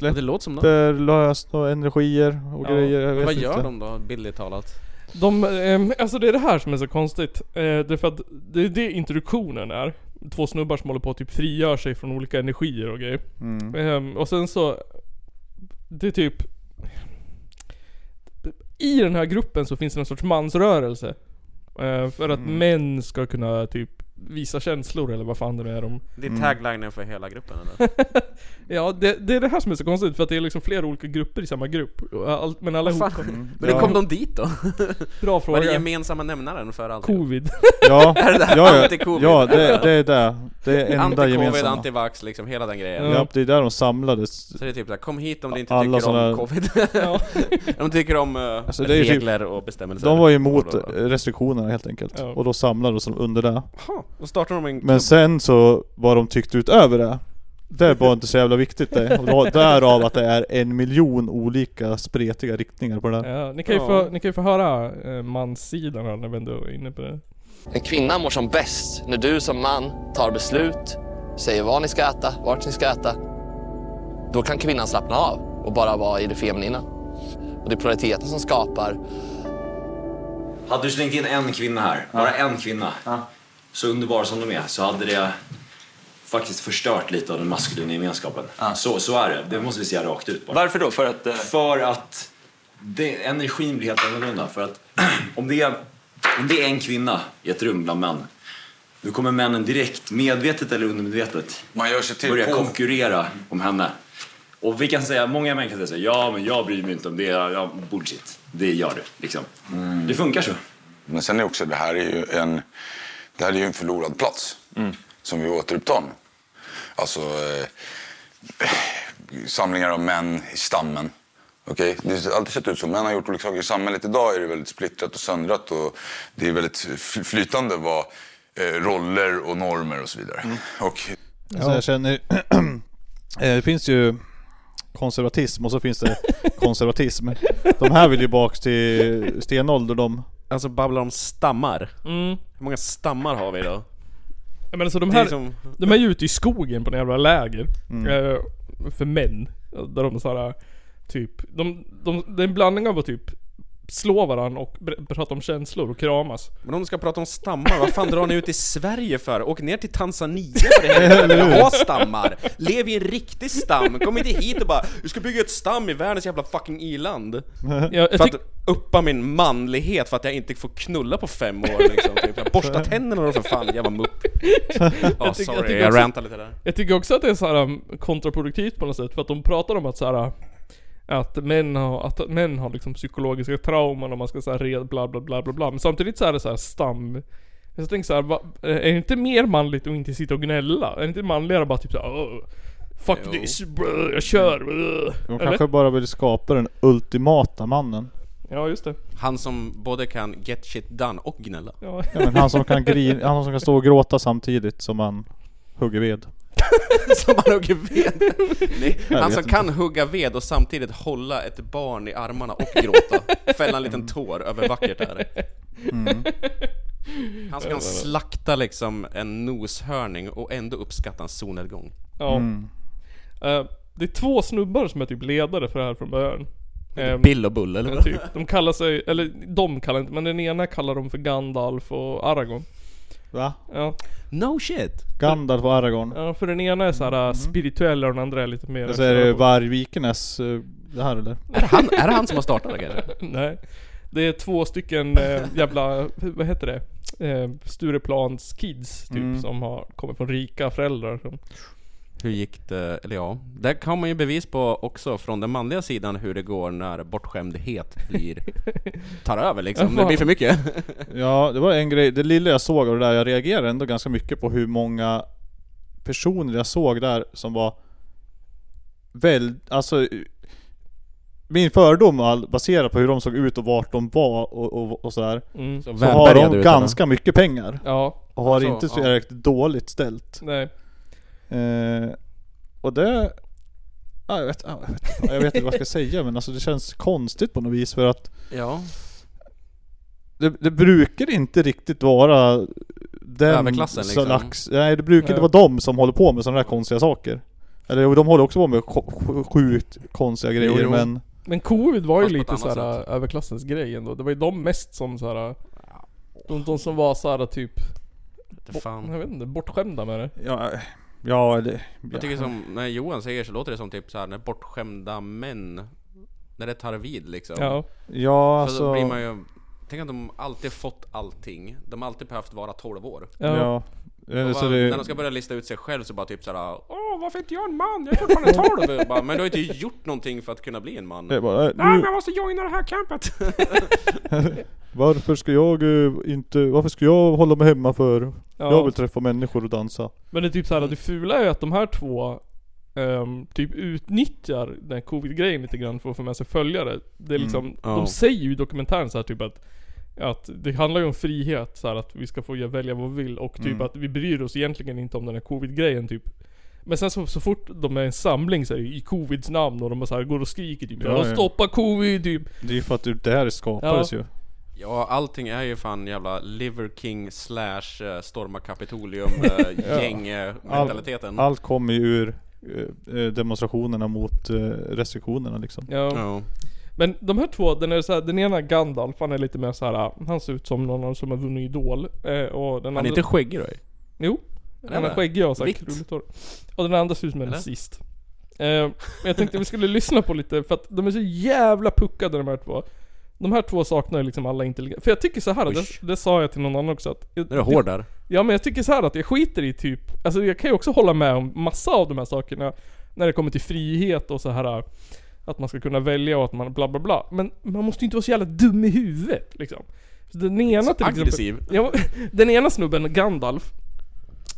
Ja, Det låter som något. Mm. Släpper löst och energier och Ja. grejer. Jag vet Vad inte. gör de då, bildligt talat? De, ehm, alltså det är det här som är så konstigt. Eh, det är för att det är det introduktionen är. Två snubbar som håller på att typ frigör sig från olika energier och grejer. Mm. Ehm, och sen så... Det är typ... I den här gruppen så finns det någon sorts mansrörelse. Eh, för att män ska kunna typ visa känslor eller vad fan det nu är de... Mm. Det är taglinen för hela gruppen eller? (laughs) Ja, det, det är det här som är så konstigt för att det är liksom flera olika grupper i samma grupp. Och Allt, men alla ihop. Men Mm. hur kom de dit då? Bra Vad är den fråga. gemensamma nämnaren för allt? (laughs) Covid. Ja, där ja, ja, anti-covid? ja det, det är det. Det är enda Anti-covid, gemensamma. antivax, liksom hela den grejen. Ja, det är där de samlades. Så det är typ såhär, kom hit om du inte Alla tycker såna- om covid. (laughs) Ja. de tycker om eh, Alltså, det är ju typ- regler och bestämmelser. De var ju emot Och, då- restriktionerna helt enkelt. Ja. Och då samlades de under det. Jaha, då startar de en Men sen så, vad de tyckte utöver det. Det var inte så jävla viktigt det. Och då- Därav att det är en miljon olika spretiga riktningar på det där. Ja, ni, kan ju få, ni kan ju få höra eh, manssidan här när vi ändå är inne på det. En kvinna mår som bäst när du som man tar beslut, säger vad ni ska äta, vart ni ska äta. Då kan kvinnan slappna av och bara vara i det feminina. Och det är polariteten som skapar Hade du slängt in en kvinna här, bara en kvinna, så underbar som de är, så hade det faktiskt förstört lite av den maskulina gemenskapen. Så, så är det, det måste vi säga rakt ut bara. Varför då? För att... eh, För att det, energin blir helt annorlunda. För att om det, är, om det är en kvinna i ett rum bland män, då kommer männen direkt, medvetet eller undermedvetet, Man gör sig till börja på... konkurrera om henne. Och vi kan säga, många män kan säga så här, ja men jag bryr mig inte om det, ja, bullshit. Det gör du, liksom. Mm. Det funkar så. Men sen är också, det här är ju en, det här är ju en förlorad plats Mm. som vi återupptar nu. Alltså, eh, samlingar av män i stammen. Okej, Det har alltid sett ut så. Män har gjort olika saker i samhället. Idag är det väldigt splittrat och söndrat och det är väldigt fl- flytande vad eh, roller och normer och så vidare. Mm. Och Så jag känner, (clears throat) Eh, det finns ju konservatism och så finns det konservatism. De här vill ju bak till stenålder de. Alltså babblar om stammar. Mm. Hur många stammar har vi då? Ja, men alltså de Det är liksom- här, som... de är ju ute i skogen på några jävla läger. Mm. Eh, för män. Där de såhär, typ, de, de, det är en blandning av att typ slå varandra och br- prata om känslor och kramas. Men om du ska prata om stammar, vad fan drar ni ut i Sverige för? Åk ner till Tanzania för det (laughs) här ha stammar! Lev i en riktig stam! Kom inte hit och bara 'Du ska bygga ett stam i världens jävla fucking i-land' Jag, jag För tyck, att uppa min manlighet för att jag inte får knulla på fem år liksom, typ. Jag borstar (laughs) tänderna då för fan, jävla mupp. Ja, tycker- jag sorry, tycker jag, också- rantar lite där. jag tycker också att det är så här um, kontraproduktivt på något sätt. För att de pratar om att så här uh, att män har, att män har liksom psykologiska trauman och man ska såhär red bla bla bla bla bla. Men samtidigt så är det så här stam... Jag tänker såhär, va- eh, är det inte mer manligt att inte sitta och gnälla? Är det inte manligare att bara typ såhär "Åh, Fuck Jo. this, brö, jag kör! brö." De Eller? kanske bara vill skapa den ultimata mannen. Ja just det. Han som både kan get shit done och gnälla. Ja. Ja, men han som kan grin, han som kan stå och gråta samtidigt som han hugger ved. (laughs) som han hugger ved. (laughs) Nej, Jag han vet som inte. kan hugga ved och samtidigt hålla ett barn i armarna och (laughs) gråta. Fälla en liten tår över vackert där. Han som kan slakta liksom en noshörning och ändå uppskatta en solnedgång. ja. Eh, det är två snubbar som är typ ledare för det här från början. Ehm, Bill och Bull eller? typ. De kallar sig, eller de kallar inte, men den ena kallar dem för Gandalf och Aragorn. Va? Ja, No shit! Gandalf och Aragorn. ja för den ena är såhär mm. spirituell och den andra är lite mer... Så är det Vargvikernes eh, det här eller? Är det han, är det, han som har startat det kanske? (laughs) Nej. Det är två stycken eh, jävla, (laughs) vad heter det? Eh, Stureplans kids typ som har kommit från rika föräldrar. Som, Hur gick det? Eller ja, där kan man ju bevis på också från den manliga sidan hur det går när bortskämdhet blir... Tar över liksom, det blir för mycket. Ja, det var en grej. Det lilla jag såg av det där, jag reagerade ändå ganska mycket på hur många personer jag såg där som var väldigt, alltså min fördom all- baserad på hur de såg ut och vart de var och, och, och sådär. mm. Så har de ganska mycket pengar Ja, och har Så, inte så ja. direkt dåligt ställt. nej. Eh, och det... Ja, jag, vet, ja, jag, vet, ja, jag vet inte vad jag ska säga men alltså det känns konstigt på något vis för att Ja. det, det brukar inte riktigt vara den Överklassen, liksom. slags- Nej det brukar inte Nej. vara de som håller på med sådana där konstiga saker. Eller jo, de håller också på med ko- sj- sjukt konstiga grejer jo. men... Men covid var ju Fast på ett lite annat såhär överklassens grej ändå. Det var ju de mest som såhär... De, de som var såhär typ, Det fan. jag vet inte, bortskämda med det. Ja, ja eller... Jag tycker som, när Johan säger så låter det som typ så här när bortskämda män När det tar vid liksom Ja. Ja alltså... Då alltså... blir man ju Tänk att de alltid fått allting De har alltid behövt vara 12 år Ja. ja. Eh, Och så vad- det- När de ska börja lista ut sig själv så bara typ såhär Åh, varför inte jag en man? Jag är fortfarande tolv! bara, Men du har ju inte gjort någonting för att kunna bli en man Det är bara, eh, Nej, men nu, jag Äh, måste joina det här campet! (laughs) varför ska jag eh, inte, varför ska jag hålla mig hemma för? Ja. Jag vill träffa människor och dansa. Men det är typ såhär, Mm. det fula är ju att de här två ehm, typ utnyttjar den här covid-grejen lite grann för att få med sig följare. Det är Mm, liksom, ja. de säger ju i dokumentären så här typ att att det handlar ju om frihet, så här, att vi ska få göra- välja vad vi vill och typ Mm. att vi bryr oss egentligen inte om den här covid-grejen typ. Men sen så, så fort de är i en samling så här, i covids namn och de så här, går och skriker typ Ja, ja, ja. stoppa covid typ. Det är ju för att det här skapades Ja. ju. Ja, allting är ju fan jävla Liver King slash eh, Storma (laughs) Kapitolium eh, gäng eh, mentaliteten Allt, allt kommer ju ur eh, eh, demonstrationerna mot eh, restriktionerna liksom. Ja. Men de här två, den, är så här, den ena Gandalf, han är lite mer så här. Han ser ut som någon som har vunnit Idol. Eh, och den Han är andra- inte skäggig då ju. Jo. Han är Han har det. skäggig och så här Vitt. krulligt hår. Och den andra ser ut som en Eller? nazist. Eh, men jag tänkte vi skulle lyssna på lite, för att de är så jävla puckade de här två. De här två saknar ju liksom alla intelligens. För jag tycker så här, och det, det sa jag till någon annan också att... Nu är du hård där. Ja men jag tycker så här att jag skiter i typ, alltså jag kan ju också hålla med om massa av de här sakerna. När det kommer till frihet och så här att man ska kunna välja och att man bla bla bla. Men man måste ju inte vara så jävla dum i huvudet liksom. Så den ena Så till aggressiv. exempel... Ja, (laughs) den ena snubben, Gandalf.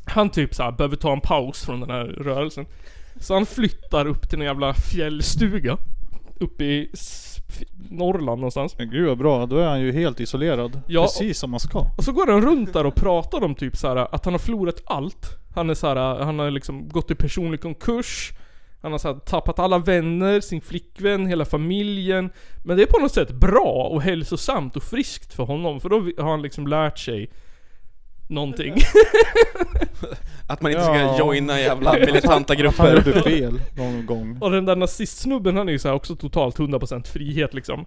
Han typ så här behöver ta en paus från den här rörelsen. Så han flyttar upp till en jävla fjällstuga. Uppe i s- f- Norrland någonstans. Men gud vad bra, då är han ju helt isolerad. Ja. Precis som man ska. Och så går han runt där och pratar om typ så här att han har förlorat allt. Han är så här, han har liksom gått i personlig konkurs. Han har så här, tappat alla vänner, sin flickvän, hela familjen. Men det är på något sätt bra och hälsosamt och friskt för honom. För då har han liksom lärt sig någonting. Att man inte ska joina jävla (laughs) militanta grupper. Han gjorde fel någon gång. (laughs) Och den där nazistsnubben han är ju så här också totalt 100% frihet liksom.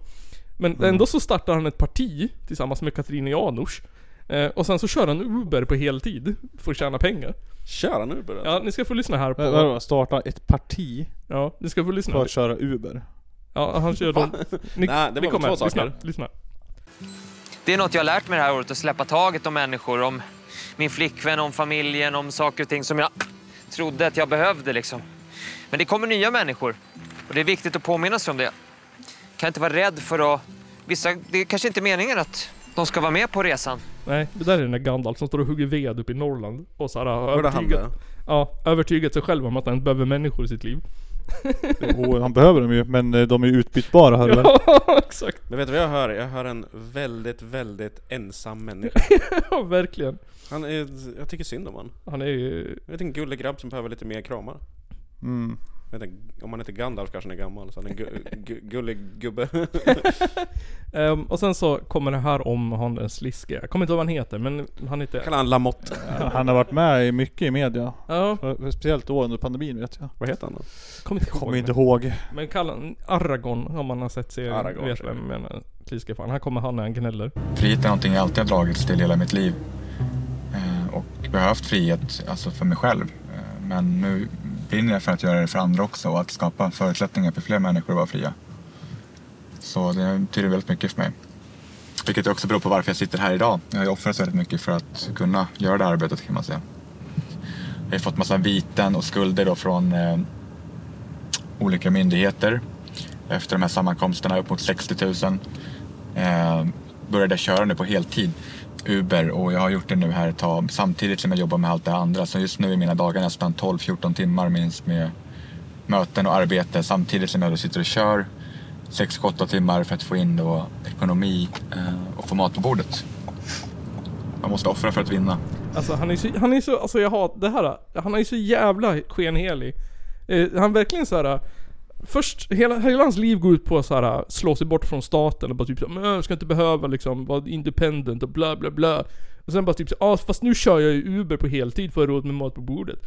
Men ändå så startar han ett parti tillsammans med Katrin Janouch. Eh, och sen så kör han Uber på heltid för att tjäna pengar. Kör han Uber alltså? Ja, ni ska få lyssna här Vä- vadå, på... starta ett parti Ja, ni ska få lyssna. för att köra Uber. Ja, han (laughs) kör dem. Ni, Nej, det ni var väl kommer. två saker. Lyssna, lyssna. Det är något jag har lärt mig det här året, att släppa taget om människor, om min flickvän, om familjen, om saker och ting som jag trodde att jag behövde liksom. Men det kommer nya människor och det är viktigt att påminna sig om det. Jag kan inte vara rädd för att... Vissa, det är kanske inte är meningen att de ska vara med på resan. Nej, det där är den där Gandalf som står och hugger ved uppe i Norrland. Och så här, har Var det han övertygat, där? ja, övertygat sig själv om att han behöver människor i (laughs) sitt liv. (laughs) Och han behöver dem ju, men eh, de är ju utbytbara här väl? Ja, exakt. Men vet du vad jag hör? Jag hör en väldigt, väldigt ensam (laughs) människa. Ja, verkligen. Han är, jag tycker synd om han. Han är ju... Jag vet en gullig grabb som behöver lite mer kramar. Mm. Jag vet inte, om han heter Gandalf kanske han är gammal, så han är en gu, gu, gullig gubbe. Ehm, och sen så kommer det här om han den sliske. Jag kommer inte ihåg vad han heter, men han heter... Kallar han Lamotte? Han har varit med i mycket i media. Ja. För- Speciellt då under pandemin vet jag. Vad heter han då? Kommer inte ihåg. Kommer inte ihåg. Men kalla han Aragorn om man har sett serien. Aragorn, vet vem men eh, sliske fan. Här kommer han när han gnäller. Frihet är någonting jag alltid har dragits till hela mitt liv. Eh, Och behövt frihet alltså för mig själv. Eh, Men nu brinner jag för att göra det för andra också och att skapa förutsättningar för fler människor att vara fria. Så det betyder väldigt mycket för mig. Vilket också beror på varför jag sitter här idag. Jag har ju offrat väldigt mycket för att kunna göra det här arbetet kan man säga. Jag har ju fått massa viten och skulder då från eh, olika myndigheter efter de här sammankomsterna, upp mot 60 000 eh, började jag köra nu på heltid Uber och jag har gjort det nu här ett tag samtidigt som jag jobbar med allt det andra. Så just nu i mina dagar nästan 12-14 timmar minst med möten och arbete samtidigt som jag då sitter och kör 6-8 timmar för att få in då ekonomi eh, och få mat på bordet. Man måste offra för att vinna. Alltså han är så, han är så, alltså jag har det här. Han är ju så jävla skenhelig. Eh, han verkligen så här. Först, hela, hela hans liv går ut på att så här, slå sig bort från staten och bara typ så här, "Men jag ska inte behöva liksom vara independent och bla bla bla. Och sen bara typ så, ah, fast nu kör jag ju Uber på heltid för att ha råd med mat på bordet.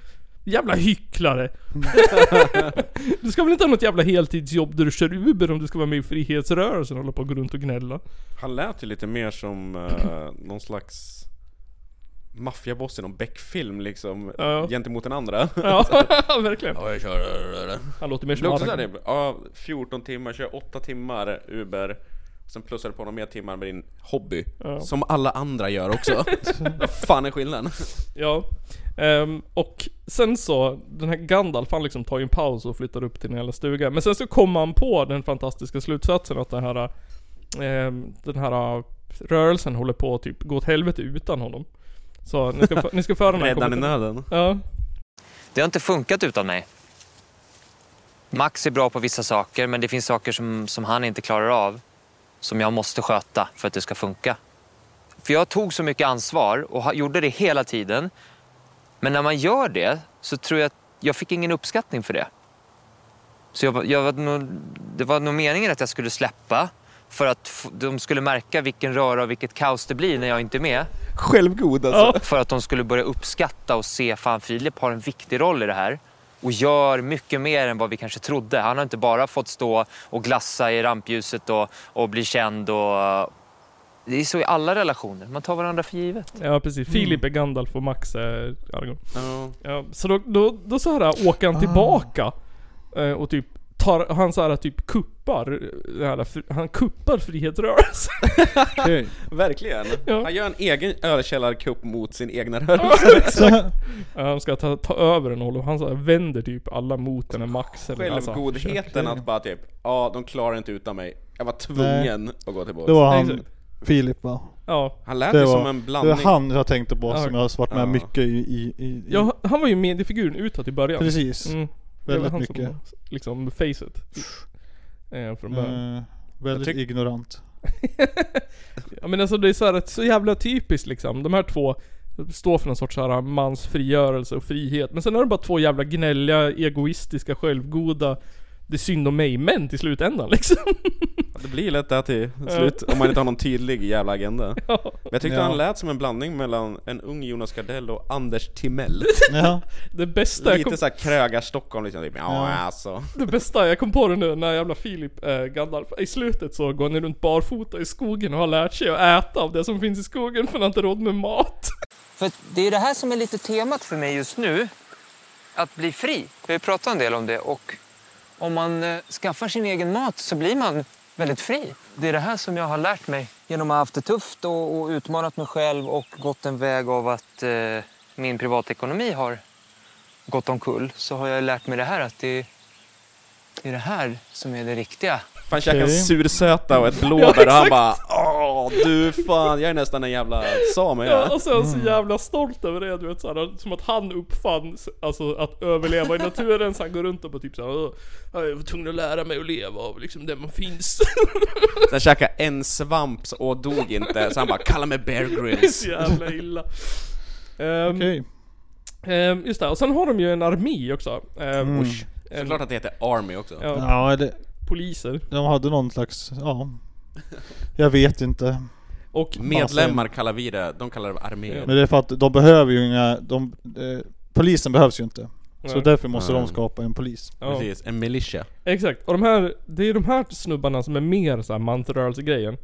Jävla hycklare! (laughs) du ska väl inte ha något jävla heltidsjobb där du kör Uber om du ska vara med i frihetsrörelsen och hålla på och gå runt och gnälla. Han lät ju lite mer som eh, någon slags maffiaboss i någon Beck-film liksom, Ja. gentemot den andra. Ja, (laughs) verkligen. Ja, jag kör. Han låter mer som Det är också typ, Aragorn. såhär, ja, 14 timmar, kör 8 timmar Uber. Sen plussar du på några mer timmar med din hobby. Ja. Som alla andra gör (laughs) också. Vad fan är skillnaden? Ja. Ehm, och sen så, den här Gandalf han liksom tar ju en paus och flyttar upp till den jävla stugan. Men sen så kommer han på den fantastiska slutsatsen att den här, ehm, den här rörelsen håller på att typ gå åt helvete utan honom. Så ni ska, ni ska föra (laughs) den här Rädda kommentaren. han i nöden. Ja. Det har inte funkat utan mig. Max är bra på vissa saker, men det finns saker som, som han inte klarar av. Som jag måste sköta för att det ska funka. För jag tog så mycket ansvar och ha, gjorde det hela tiden. Men när man gör det så tror jag att jag fick ingen uppskattning för det. Så jag, var- jag var nog, det var nog meningen att jag skulle släppa för att f- (laughs) de skulle märka vilken röra och vilket kaos det blir när jag inte är med. Självgod Ja. För att de skulle börja uppskatta och se fan Filip har en viktig roll i det här och gör mycket mer än vad vi kanske trodde. Han har inte bara fått stå och glassa i rampljuset och, och bli känd. Och, det är så i alla relationer, man tar varandra för givet. Ja precis, Filip är Gandalf och Max är Aragorn. Mm. Ja, så då, då, då så här åker han tillbaka eh, och typ tar, han så här typ kuppar, eh, det här, fr- han kuppar frihetsrörelsen. (laughs) Verkligen. Ja. Han gör en egen ölkällarkupp mot sin egna rörelse. Ja, han Eh, ska ta, ta över den och han så här vänder typ alla mot den här Max. eller alltså, Självgodheten försöker. att bara typ, ja de klarar inte utan mig. Jag var tvungen Nej. att gå tillbaka. (laughs) Det var han Filip va? Ja. Han lät det ju var, som en blandning. Det var han jag tänkte på Ja. som jag har varit med Ja. mycket i... i, i, i Ja, han var ju mediefiguren utåt i början. Mm. Precis. Det var Väldigt han som mycket. var, Liksom facet. Eh, från början. eh, väldigt Jag tyck- ignorant. Ja men alltså det är så här, att- så jävla typiskt liksom. De här två står för någon sorts så här mans frigörelse och frihet. Men sen är de bara två jävla gnälliga, egoistiska, självgoda det är synd om mig men till slutändan (laughs) liksom. Det blir lätt det till slut, om man inte har någon tydlig jävla agenda. Men jag tyckte (laughs) Ja. han lät som en blandning mellan en ung Jonas Gardell och Anders Timell. Ja. (laughs) Det bästa jag Lite kom- såhär krögar-Stockholm liksom, typ. ja, Ja. alltså. Det bästa, jag kom på det nu när jävla Filip eh, Gandalf, i slutet så går han runt barfota i skogen och har lärt sig att äta av det som finns i skogen för han har inte råd med mat. För det är det här som är lite temat för mig just nu. Att bli fri. Vi har ju pratat en del om det. Och om man eh, skaffar sin egen mat så blir man väldigt fri. Det är det här som jag har lärt mig. Genom att ha haft det tufft och, och utmanat mig själv och gått en väg av att eh, min privatekonomi har gått omkull så har jag lärt mig det här att det är det, är det här som är det riktiga. Han käkade en sursöta (laughs) och ett blåbär och han bara Åh du fan, jag är nästan en jävla same jag. Ja, (laughs) och så är han så jävla stolt över det, du vet såhär, som att han uppfann s- alltså, att överleva i naturen så han går runt och bara typ såhär "Åh, Jag var tvungen att lära mig att leva av liksom det man finns. (laughs) Sen käkade en svamp och dog inte, så han bara 'Kalla mig Bear Grylls' så jävla illa. Um, (laughs) just det, och sen har de ju en armé också. Ehm, Mm. usch. En- Såklart att det heter Army också. Ja. Ja, det, Poliser. De hade någon slags, ja. Jag vet inte. Och Medlemmar kallar vi det, de kallar det armé. Men det är för att de behöver ju inga, de, eh, polisen behövs ju inte. Så Nej. därför måste Nej. de skapa en polis. Ja. Precis, en militia. Exakt, och de här, det är de här snubbarna som är mer såhär mansrörelsegrejen.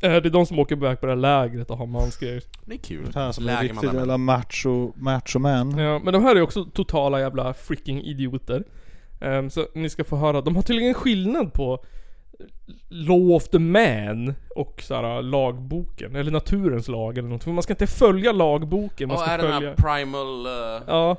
Eh, Det är de som åker iväg på det här lägret och har mansgrejer. Det är kul. Det här som är Läger riktigt man jävla macho, macho man. Ja, men de här är också totala jävla freaking idioter. Ehm, så ni ska få höra, de har tydligen skillnad på Law of the Man och såhär lagboken, eller naturens lag eller något. För man ska inte följa lagboken, man Och ska är den följa... här primal... eh, Ja.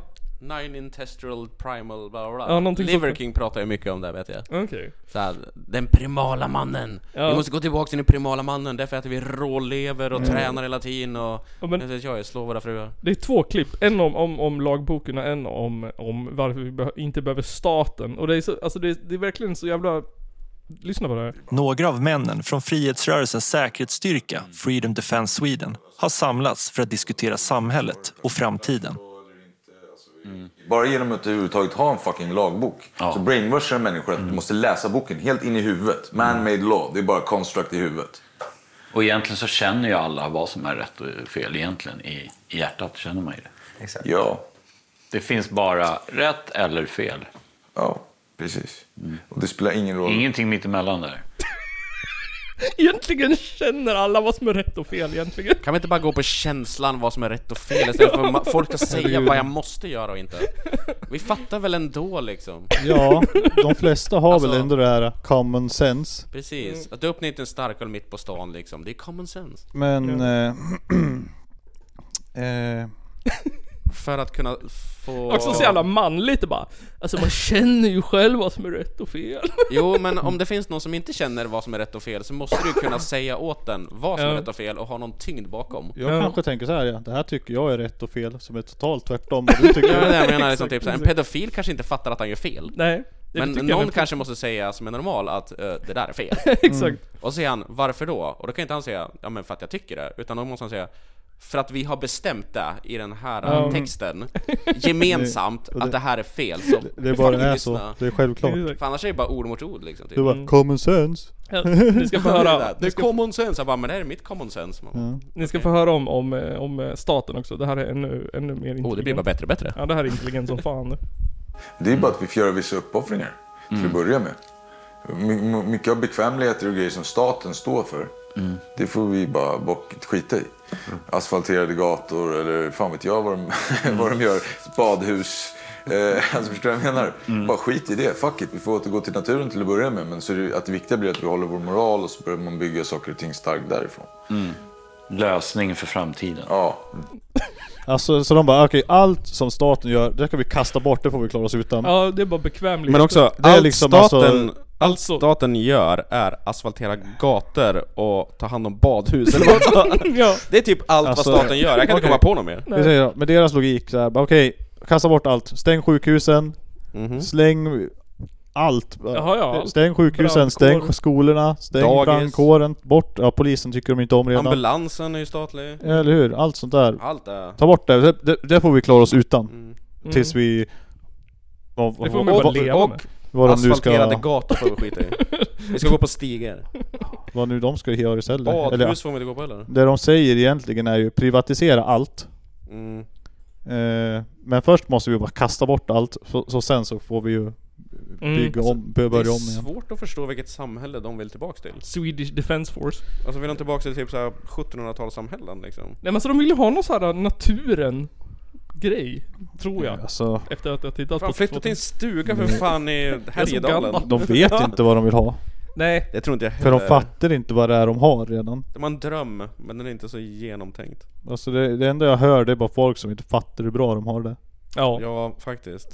Nine Intestral Primal bla bla Ja, bla. någonting Liver sånt. King pratar ju mycket om det vet jag. Okej. Så här, den primala mannen. Ja. Vi måste gå tillbaka till den primala mannen, därför äter vi rålever och Mm. tränar hela tiden och... Ja, men- jag vet jag, jag slår våra fruar. Det är två klipp, en om, om, om lagboken och en om, om varför vi beh- inte behöver staten. Och det är, så, alltså det, är, det är verkligen så jävla... Lyssna på det här. Några av männen från frihetsrörelsens säkerhetsstyrka Freedom Defence Sweden har samlats för att diskutera samhället och framtiden. Bara genom att överhuvudtaget ha en fucking lagbok så brainwashar den Mm, människor att du måste läsa boken helt in i huvudet. Man-made law, det är bara construct i huvudet. Och egentligen så känner ju alla vad som är rätt och fel egentligen. I, i hjärtat känner man ju det. Exakt. Ja. Det finns bara rätt eller fel. Ja, precis. Och det spelar Mm. ingen roll. Ingenting mittemellan där. Egentligen känner alla vad som är rätt och fel egentligen. Kan vi inte bara gå på känslan vad som är rätt och fel istället (laughs) för att ma- folk ska säga vad jag måste göra och inte? Vi fattar väl ändå liksom? Ja, de flesta har väl ändå det här common sense. Precis, Mm. att du öppnar inte en starköl mitt på stan liksom, det är common sense. Men... Eh, (clears throat) eh, För att kunna få... Också så jävla manligt det bara. Alltså man känner ju själv vad som är rätt och fel. Jo, men om det finns någon som inte känner vad som är rätt och fel så måste du ju kunna säga åt den vad som är Ja. rätt och fel och ha någon tyngd bakom. jag kanske tänker så här, ja, det här tycker jag är rätt och fel, som är totalt tvärtom vad Ja, du det tycker. är det jag menar. Liksom, typ, så här, en pedofil kanske inte fattar att han gör fel. Nej, det men tycker jag någon med. (laughs) kanske måste säga som är normal att eh, det där är fel. Exakt. Och så säger han varför då? Och då kan inte han säga ja men för att jag tycker det. Utan då måste han säga för att vi har bestämt det i den här eh, (laughs) Ja. texten gemensamt Det- och det- att det här är fel. Så det- det är bara fuck, det är lyssna. så. Det är självklart. För annars är det bara ord mot ord liksom. Typ. Du bara, common sense. Ja, ni ska få (laughs) höra. Det, Ni är ska- common sense. Jag bara, men det här är mitt common sense. Man bara, Ni ska få höra om, om, eh, om eh, staten också. Det här är ännu, ännu mer intelligent. Oh, blir bara bättre och bättre. Ja, det här är intelligent som fan. Det är bara att vi får göra vissa uppoffringar till att börja med. My- my- Mycket av bekvämligheter och grejer som staten står för, det får vi bara bock, skita i. Asfalterade gator eller fan vet jag vad de, (laughs) vad de gör. Badhus. Eh, (laughs) alltså förstår du vad jag menar? Bara skit i det. Fuck it. Vi får återgå till naturen till att börja med. Men så är det, att det viktiga blir att vi håller vår moral och så börjar man bygga saker och ting starkt därifrån. Lösning för framtiden. Ja. Alltså, så de bara, okej allt som staten gör, det kan vi kasta bort, det får vi klara oss utan. Ja, det är bara bekvämlighet. Men också, Det är allt, liksom staten, alltså- allt staten gör är asfaltera gator och ta hand om badhus eller vad fan. Ja. Det är typ allt vad staten gör, jag kan inte Alltså- okej. komma på något mer. Vi säger då, med deras logik så här, bara, okej, kasta bort allt. Stäng sjukhusen, Mhm. släng allt. Jaha, ja, allt. Stäng sjukhusen, Brandkår. stäng skolorna, stäng Dagis. brandkåren, bort. Ja, polisen tycker de inte om redan. Ambulansen är ju statlig. Ja, Eller hur? Allt sånt där. Allt Mm. det. Ta bort det. det. Det, det får vi klara oss utan. Mm. Tills vi... Vad, Det får man ju bara leva med. vad de nu Asfalterade ska, gator får vi skita i. Vi ska gå på stigar. vad nu de ska göra istället. Badhus Eller, får man inte gå på heller. Det de säger egentligen är ju privatisera allt. Mm. Eh, men först måste vi bara kasta bort allt, så, så sen så får vi ju Mm. bygga om, börja det är om igen. svårt att förstå vilket samhälle de vill tillbaka till. Swedish Defense Force. Alltså vill de tillbaka till typ såhär 1700-talssamhällen liksom? Nej men så de vill ju ha någon sån här naturen grej. Tror jag. Alltså- Efter att jag tittat Fan på... flytta till en stuga för Mm. fan i Jag är så Härjedalen. gammal. De vet inte vad de vill ha. Nej. Det tror inte jag För de heller. fattar inte vad det är de har redan. Det var en dröm, men den är inte så genomtänkt. Alltså det, det enda jag hör det är bara folk som inte fattar hur bra de har det. Ja. Ja, faktiskt.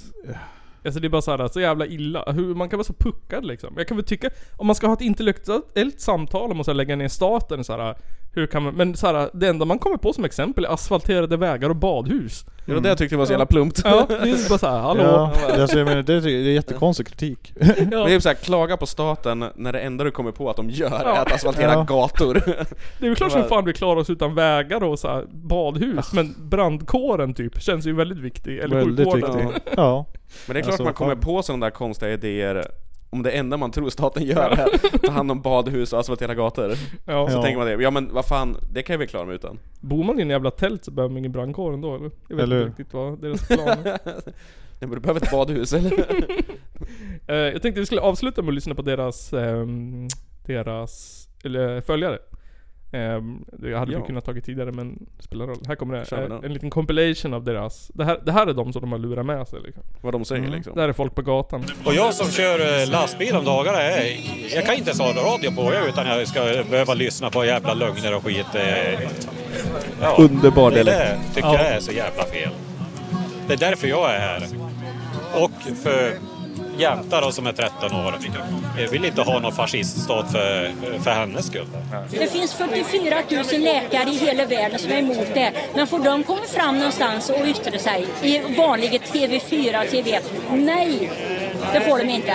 Alltså det är bara så, här, så jävla illa. Hur, man kan vara så puckad liksom. Jag kan väl tycka, om man ska ha ett intellektuellt samtal om att så här lägga ner staten så här, äh, hur kan man, men så här, äh, det enda man kommer på som exempel är asfalterade vägar och badhus. Det var det jag tyckte var så jävla plumpt. Mm. Ja, (laughs) det är bara så här, hallå? Ja, alltså jag menar, det, är- det är jättekonstig (laughs) kritik. Det är typ såhär, klaga på staten när det enda du kommer på att de gör Ja. är att asfaltera Ja. gator. (laughs) Det är väl klart som fan vi klarar oss utan vägar och så här, badhus, men brandkåren typ känns ju väldigt viktig. Eller Väldigt sjukvården. viktig. Ja. Men det är klart Alltså, man kommer fan. på sådana där konstiga idéer om det enda man tror staten gör är att ta hand om badhus och asfaltera gator. Ja. Så Ja. tänker man det, ja men vad fan, det kan jag väl klara mig utan. (laughs) Bor man i en jävla tält så behöver man ingen brandkår ändå eller? Jag vet Eller hur? inte riktigt vad (laughs) deras plan är. Nej, men du behöver ett badhus eller? (laughs) Eh, jag tänkte vi skulle avsluta med att lyssna på deras, ehm, deras eller, eh, följare. Um, det hade Ja. vi kunnat tagit tidigare men det spelar roll. Här kommer det, Kör vi den. eh, en liten compilation av deras. Det här, det här är de som de har lurat med sig liksom. Vad de säger liksom. Det här är folk på gatan. Och jag som kör eh, lastbil om dagarna, jag, jag kan inte ens ha radio på jag, utan jag ska behöva lyssna på jävla lögner och skit. eh. Ja, Underbar det dialekt. där tycker jag är så jävla fel. Det är därför jag är här. Och för Jämta då som är 13 år. Jag vill inte ha någon fasciststat för, för hennes skull. Det finns 44 000 läkare i hela världen som är emot det. Men får de komma fram någonstans och yttra sig i vanliga TV4 och TV1? Nej, det får de inte.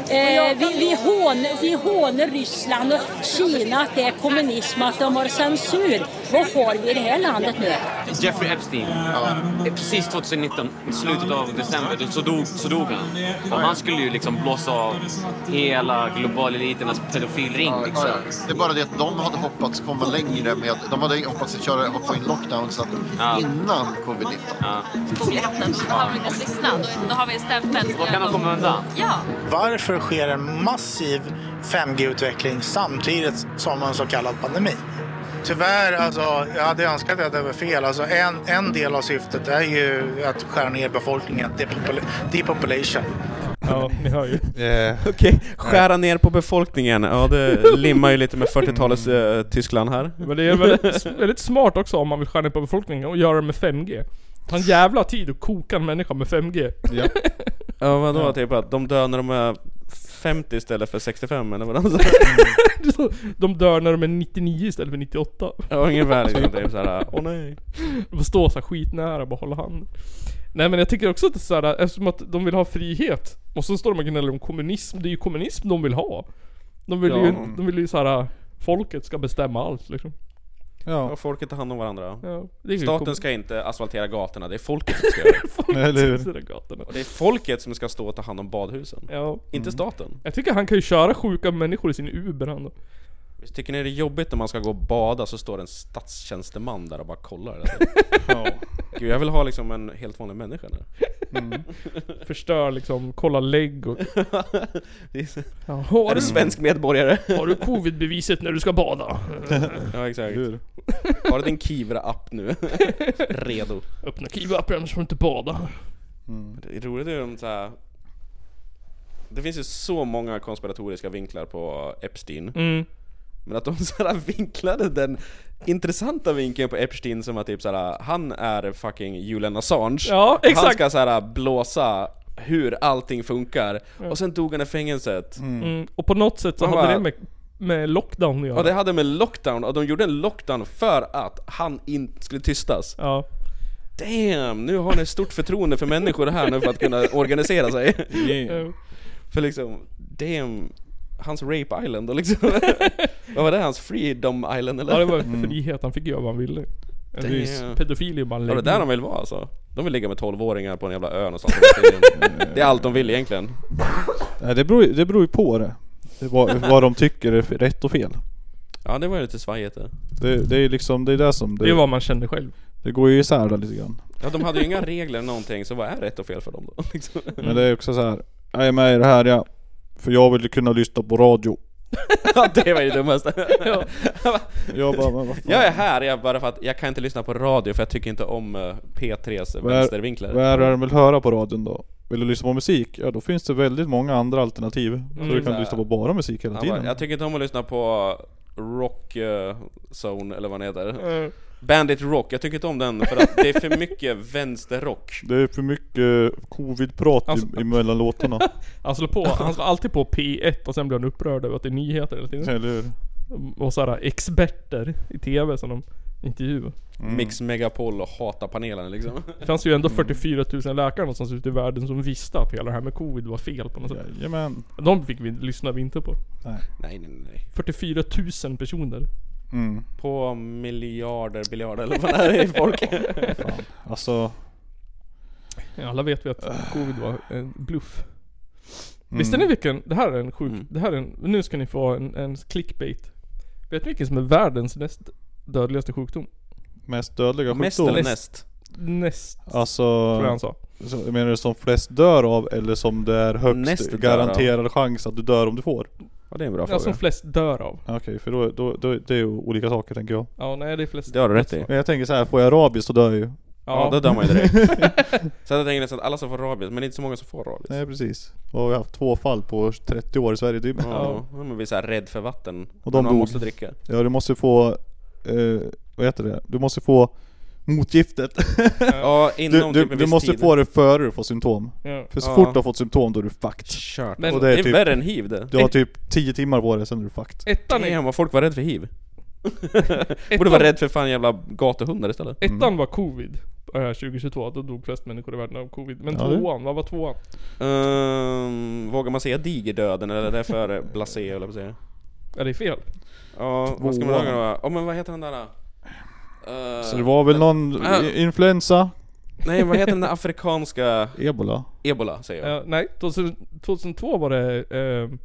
Eh, vi, vi, hånar, vi hånar Ryssland och Kina att det är kommunism, att de har censur. Vad har vi i det här landet nu? Jeffrey Epstein. Eh, Precis 2019, i slutet av december, då- så dog, så dog han. Och han skulle ju liksom blåsa av hela globaleliternas pedofilring. Ja, Liksom. ja. Det är bara det att de hade hoppats komma längre med, de hade hoppats att köra, få in lockdowns att, innan covid-19. Polletten, då har vi en lyssnad. Då har vi en stämpel. Då kan man komma undan. Ja. Varför sker en massiv 5G-utveckling samtidigt som en så kallad pandemi. Tyvärr, alltså, jag hade önskat att det var fel. Alltså, en, en del av syftet är ju att skära ner befolkningen, depopula- depopulation. Ja, ni hör ju. Okej, skära ner på befolkningen. Ja, det limmar ju lite med 40-talets Mm. eh, Tyskland här. Men det är väldigt, väldigt smart också om man vill skära ner på befolkningen och göra det med 5G. Ta en jävla tid och koka en människa med 5G. Ja. Ja vadå typ att de dör när de är 50 istället för 65 eller vad (laughs) de sa? De dör när de är 99 istället för 98. Ja, ungefär liksom, typ såhär, åh nej. De får stå såhär skitnära och bara hålla handen. Nej men jag tycker också att det är såhär, eftersom att de vill ha frihet. Och så står de och gnäller om kommunism. Det är ju kommunism de vill ha. De vill Ja. ju, de vill ju såhär, folket ska bestämma allt liksom. Ja. folket tar hand om varandra. Ja, det är ju Staten kom- ska inte asfaltera gatorna, det är folket som ska göra det. Folket Eller hur? som ska göra gatorna. Och det är folket som ska stå och ta hand om badhusen. Ja. Inte staten. Jag tycker han kan ju köra sjuka människor i sin Uber han då. Visst tycker ni det är jobbigt när man ska gå och bada så står en statstjänsteman där och bara kollar? (laughs) Alltså. Gud, jag vill ha liksom en helt vanlig människa nu. Förstör liksom, kolla (laughs) lägg och... Ja, Är du svensk medborgare? Har du covid-beviset när du ska bada? ja, exakt. Har du din Kivra-app nu? Redo. Öppna kiva-appen annars får du inte bada. Det är roligt hur de så här. Det finns ju så många konspiratoriska vinklar på Epstein. Mm. Men att de så här vinklade den intressanta vinkeln på Epstein som att typ så här, han är fucking Julian Assange. Ja, Han exakt. ska så här blåsa hur allting funkar. Ja. Och sen dog han i fängelset. Mm. Och på något sätt så Man hade bara- det med, med lockdown att göra. Ja det hade med lockdown, och de gjorde en lockdown för att han inte skulle tystas. Ja. Damn, nu har ni stort förtroende för människor här nu för att kunna organisera sig. Ja. För liksom, damn, hans rape island och (laughs) liksom... vad var det? Hans freedom island eller? Ja det var frihet, han fick göra vad han ville. Det är ju- Damn. Pedofil är ju bara en Var det läggning. där de vill vara alltså? De vill ligga med 12-åringar på en jävla ö någonstans på Mm. Västindien. Det är allt de vill egentligen. Nej, det, beror, ju- det beror ju på det. det vad, vad de tycker är rätt och fel. Ja det var ju lite svajigt det. Det, det är liksom, det är det som... Det är vad man känner själv. Det går ju isär där lite grann. Ja de hade ju inga regler eller någonting, så vad är rätt och fel för dem då? (laughs) Liksom. Men det är också så här. jag är med i det här ja. För jag vill ju kunna lyssna på radio. Ja det var ju det dummaste. Jag bara, men vad fan? Jag är här jag bara för att jag kan inte lyssna på radio för jag tycker inte om eh, P3s Vad är, vänstervinklar. vad är det de vill höra på radion då? Vill du lyssna på musik? Ja då finns det väldigt många andra alternativ. Mm. Så du Så här. kan lyssna på bara musik hela Han tiden. bara, jag tycker inte om att lyssna på Rock eh, Zone eller vad den heter. Mm. Bandit Rock, jag tycker inte om den för att det är för mycket (laughs) vänsterrock. Det är för mycket covid-prat Alltså- i, (laughs) mellan låtarna. Han slår på, han slår alltid på P1 och sen blir han upprörd över att det är nyheter hela tiden. Eller hur? Och såhär experter i TV som de intervjuar. Mix Megapol och hata panelen liksom. (laughs) Det fanns ju ändå 44 000 läkare någonstans ute i världen som visste att hela det här med covid var fel på något sätt. Jajamän. De fick vi, lyssnade vi inte på. Nej. Nej, nej, nej. 44 000 personer. Mm. På miljarder, biljarder eller vad det är i (laughs) folk. Fan. Alltså, Alla vet vi att covid var en bluff. Mm. Visste ni vilken, det här är en sjuk, det här är en, nu ska ni få en, en clickbait. Vet ni vilken som är världens näst dödligaste sjukdom? mest dödliga Mest sjukdom. eller näst? Näst. Alltså, Tror jag han sa. Så, jag menar du som flest dör av eller som det är högst Näst dör garanterad chans att du dör om du får? Ja det är en bra Ja, som flest dör av. Okej, för då, då, då, det är ju olika saker tänker jag. Ja, nej det är flest. Men jag tänker så här, får jag rabies så dör jag ju. Ja, då dör man ju (laughs) direkt. så jag tänker nästan att alla som får rabies, men det är inte så många som får rabies. Nej precis. Och vi har haft två fall på 30 år i Sverige typ. Ja, man blir såhär rädd för vatten. Och de man dog. måste dricka. Ja du måste få, eh, vad heter det? Du måste få motgiftet. Ja, inom du, typ du, en du viss måste tid. få det före du får symptom. Ja. För så Ja. fort du har fått symptom då är du fucked. Kört. Men det är typ- värre än hiv, det. Du har typ 10 timmar på dig sen är du fucked. Ettan är- Damn, vad folk var rädda för hiv. Borde Ettan- vara rädd för fan jävla gatuhundar istället. Ettan var covid. eh, 2022, då dog flest människor i världen av covid. Men Ja, det. tvåan, vad var tvåan? Ehm, vågar man säga digerdöden eller är det för blasé eller vad säger Ja det är fel. Ja, vad ska man laga då? Ja men vad heter den där? Uh, Så det var väl någon i- influensa? Nej vad heter den där afrikanska... Ebola? Ebola säger jag. Eh, nej, 2000 2002 var det... Mm. ehm,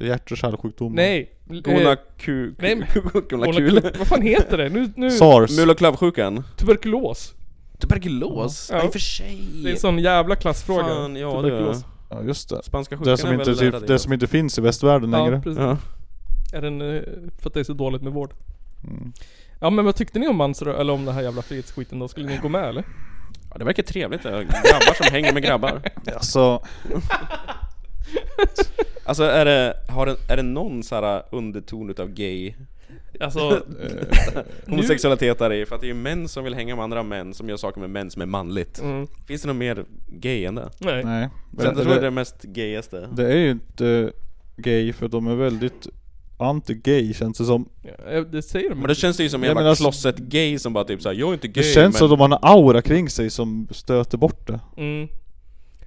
Hjärt och kärlsjukdomar? nej. Gona eh, ku... (laughs) nej, men- Gona Gona kul. Vad fan heter det? Nu, nu, Mul och klövsjukan. Tuberkulos. Tuberkulos? Ja, i och för sig. Det är en sån jävla klassfråga. Fan, ja, det är tuberkulos. det. Ja just det. Spanska sjukan det som, är väl inte, typ, räddad det igen. som inte finns i västvärlden längre. Ja, precis. Är den, eh, för att det är så dåligt med vård. Ja men vad tyckte ni om Mansrö, eller om den här jävla frihetsskiten då? Skulle ni gå med eller? Ja, det verkar trevligt det. Grabbar som hänger med grabbar. Alltså... Alltså är det, har det, är det någon så här underton utav gay? Alltså, Homosexualitet där i, för att det är ju män som vill hänga med andra män som gör saker med män som är manligt. Mm. Finns det något mer gay än det? (laughs) Nej. Nej. Så jag tror det är det mest gayaste. Det är ju inte gay för de är väldigt anti-gay känns det som. Ja, eh, det säger de Men det känns det ju som en Jag jävla menar, alltså- closet-gay som bara typ såhär, jag är inte Det gay känns men... som att de har en aura kring sig som stöter bort det. Mm.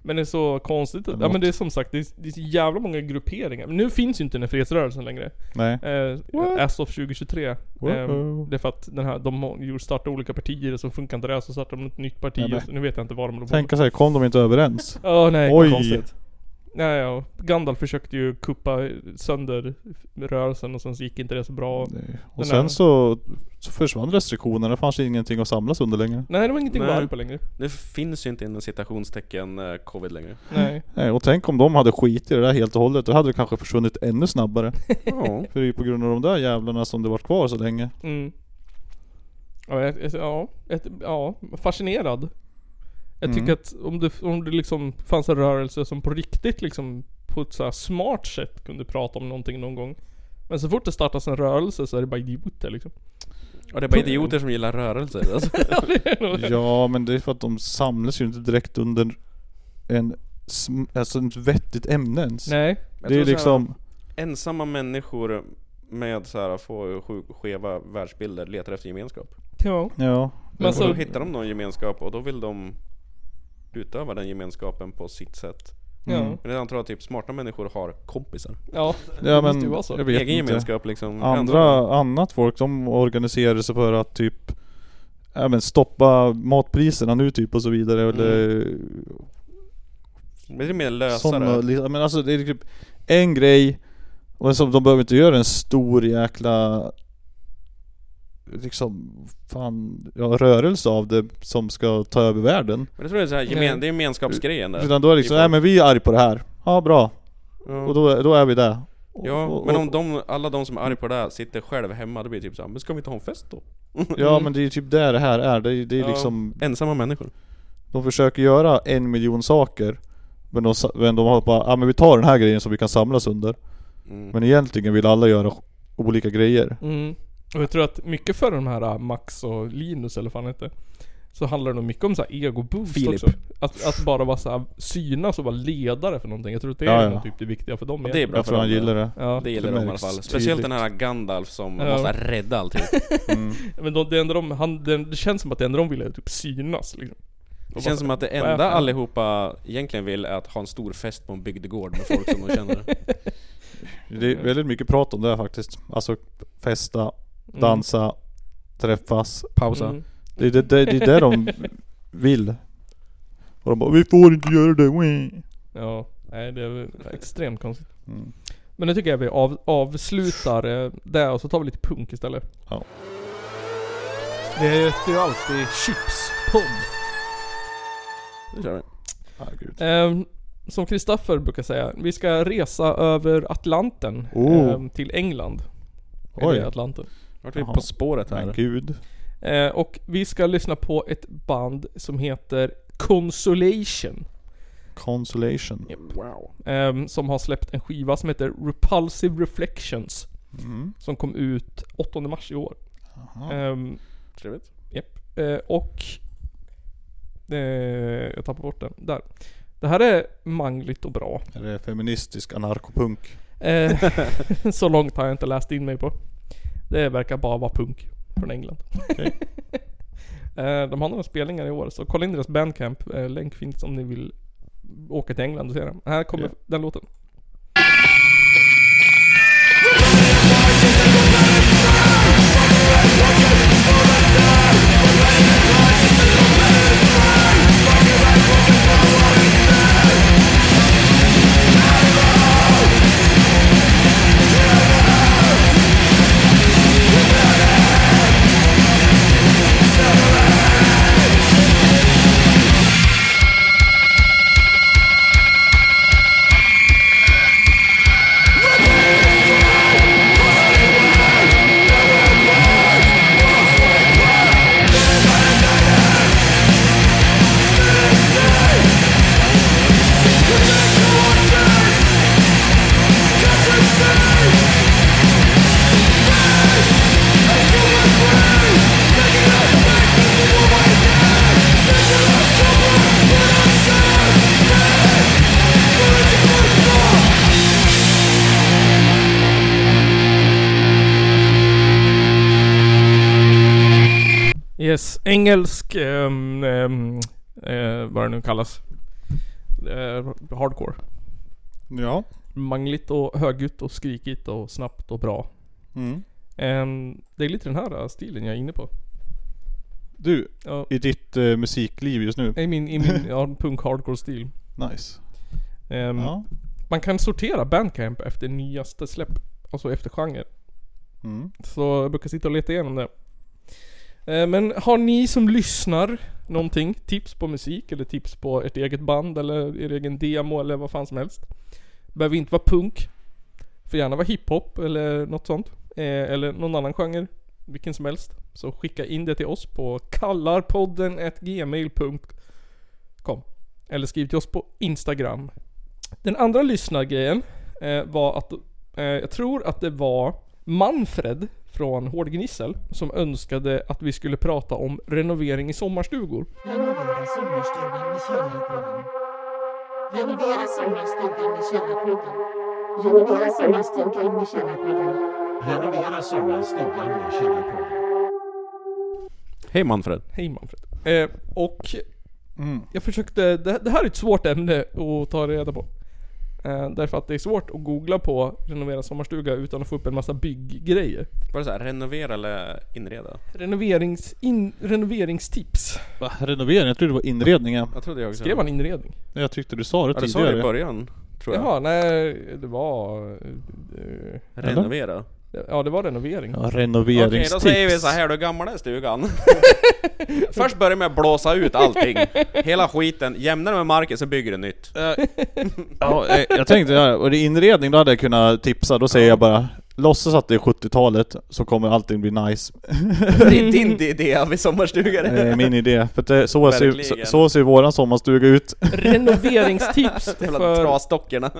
Men det är så konstigt att, Ja men det är som sagt, det är, det är så jävla många grupperingar. Men nu finns ju inte den här fredsrörelsen längre. Nej. Eh, as of 2023. Eh, Wow. det är för att den här, de har gjort- startade olika partier och så funkar inte det här, så startade de ett nytt parti. Ja, men- och så, nu vet jag inte vad de håller på med. Tänka sig, kom de (laughs) inte överens? Ja, nej. vad Oj! Konstigt. Ja, ja. och Gandalf försökte ju kuppa sönder rörelsen och sen så gick inte det så bra. Den Och sen här- så så försvann restriktionerna, det fanns ingenting att samlas under längre. Nej, det var ingenting att Nej. vara arg på längre. Det finns ju inte inom citationstecken eh, covid längre. Nej. Nej, och tänk om de hade skit i det där helt och hållet, då hade det kanske försvunnit ännu snabbare. Ja. För det är ju på grund av de där jävlarna som det varit kvar så länge. Mm. Ja, ett, ett, ja, ett, ja, fascinerad. Jag Mm. tycker att om det, om det liksom fanns en rörelse som på riktigt liksom på ett så här smart sätt kunde prata om någonting någon gång. Men så fort det startas en rörelse så är det bara idioter liksom. (laughs) Och det är bara idioter som gillar rörelser (laughs) alltså. Ja, men det är för att de samlas ju inte direkt under en, sm- alltså ett vettigt ämne ens. Jag Det tror är så här, liksom... ensamma människor med så här, få sju- skeva världsbilder letar efter gemenskap. Ja. Ja. Men Men så- då hittar de någon gemenskap och då vill de utöva den gemenskapen på sitt sätt. Ja. Men jag antar att typ smarta människor har kompisar. Ja, Ja men, jag vet Egen inte. gemenskap liksom. Andra, annat folk, de organiserar sig för att typ Ja men stoppa matpriserna nu typ och så vidare Mm. eller Men det är mer sådana, lösare. li- men alltså det är typ en grej och som de behöver inte göra en stor jäkla liksom fan, ja, rörelse av det som ska ta över världen. Men det tror jag är så här, gemen, det är gemenskapsgrejen där. Utan då är det liksom, nej men vi är arg på det här. Ja bra. Ja. Och då, då är vi där. Ja, men om de, alla de som är arga på det här sitter själv hemma, det blir typ såhär, men ska vi inte ha en fest då? Ja men det är ju typ där det här är. Det är, det är Mm. Ja, liksom... Ensamma människor. De försöker göra en miljon saker. Men de, sa- men de har bara, ja ah, men vi tar den här grejen som vi kan samlas under. Mm. Men egentligen vill alla göra olika grejer. Mm. Och jag tror att mycket för de här äh, Max och Linus eller vad fan heter Så handlar det nog mycket om så här ego-boost Filip. också. Att, att bara vara så här, synas och vara ledare för någonting. Jag tror att det Ja, är ja. nog typ det viktiga för dem Och det är bra Jag för tror han dem, gillar det. Ja. Det gillar Det de i alla märks fall. Speciellt den tydligt. här Gandalf som Ja. måste rädda (laughs) allting. Mm. Men de, det, enda de, han, det, det känns som att det enda de vill är typ synas liksom. Det känns som att det enda allihopa egentligen vill är att ha en stor fest på en bygdegård med folk som de känner. (laughs) Det är väldigt mycket prat om det här faktiskt. Alltså festa, Mm. dansa, träffas. Pausa. Mm. Det, är det, det, det är det de vill. Och de bara, vi får inte göra det. wee." Mm. Ja, nej det är väl extremt konstigt. Men nu tycker jag vi av, avslutar eh, det och så tar vi lite punk istället. Ja. Det heter ju alltid Chipspodd. Nu kör vi. Ehm, som Kristoffer brukar säga, vi ska resa över Atlanten Oh. ehm, till England. Oj. Eller Atlanten. Vart är vi på spåret här? Men gud. Eh, och vi ska lyssna på ett band som heter Consolation. Consolation. Wow. ehm, som har släppt en skiva som heter Repulsive Reflections. Mm. Som kom ut 8 mars i år. Jaha. Ehm, Trevligt. Japp. Eh, och... Eh, jag tappade bort den. Där. Det här är mangligt och bra. Är det feministisk anarkopunk? Eh, (laughs) så långt har jag inte läst in mig på. Det verkar bara vara punk från England. (laughs) eh, de har några spelningar i år, så kolla in deras bandcamp. Eh, länk finns om ni vill åka till England och se den. Här kommer Ja. den låten. Yes, engelsk... Um, um, eh, vad det nu kallas. Eh, hardcore. Ja. Mangligt och högljutt och skrikigt och snabbt och bra. Mm. Ehm, det är lite den här eh, stilen jag är inne på. Du, Ja. Eh. i ditt eh, musikliv just nu. I min, i (laughs) min ja, punk hardcore stil. Nice. Ehm, Ja. Man kan sortera bandcamp efter nyaste släpp. Alltså efter genre. Mm. Så jag brukar sitta och leta igenom det. Eh, Men har ni som lyssnar någonting? Tips på musik eller tips på ert eget band eller er egen demo eller vad fan som helst. Behöver inte vara punk. Får gärna vara hiphop eller något sånt. Eh, Eller någon annan genre. Vilken som helst. Så skicka in det till oss på kallarpodden@gmail.com Eller skriv till oss på Instagram. Den andra lyssnargrejen eh, var att eh, jag tror att det var Manfred från Hårdgnissel som önskade att vi skulle prata om renovering i sommarstugor. Renovera sommarstugan med Källarpodden. Renovera sommarstugan med Källarpodden. Renovera sommarstugan med Källarpodden. Renovera sommarstugan med Källarpodden. Hej Manfred. Hej Manfred. Eh, och jag försökte, det, det här är ett svårt ämne att ta reda på. Eh, därför att det är svårt att googla på renovera sommarstuga utan att få upp en massa bygggrejer. Var det så här, renovera eller inreda? Renoverings, in, renoveringstips. Va? Renovering? Jag trodde det var inredningen. Jag trodde jag också. Skrev han inredning? Jag tyckte du sa det Ja, du sa tidigare. det i början, tror jag. Jaha, nej det var... eh, Renovera? Ja det var renovering. Ja, renoveringstips. Okej, då säger vi så här, du gamla är (laughs) stugan. Först börjar med att blåsa ut allting. Hela skiten, jämna det med marken, sen bygger du nytt. Eh, Ja, eh, jag tänkte, ja, och det är inredning då hade jag kunnat tipsa. Då säger jag bara Låtsas att det är 70-talet så kommer allting bli nice. Det är din idé av en sommarstuga Det är min idé. För att det, så, ser, så, Verkligen. så ser våran sommarstuga ut. (laughs) Renoveringstips (laughs) (laughs) Jävla för- trasdockorna.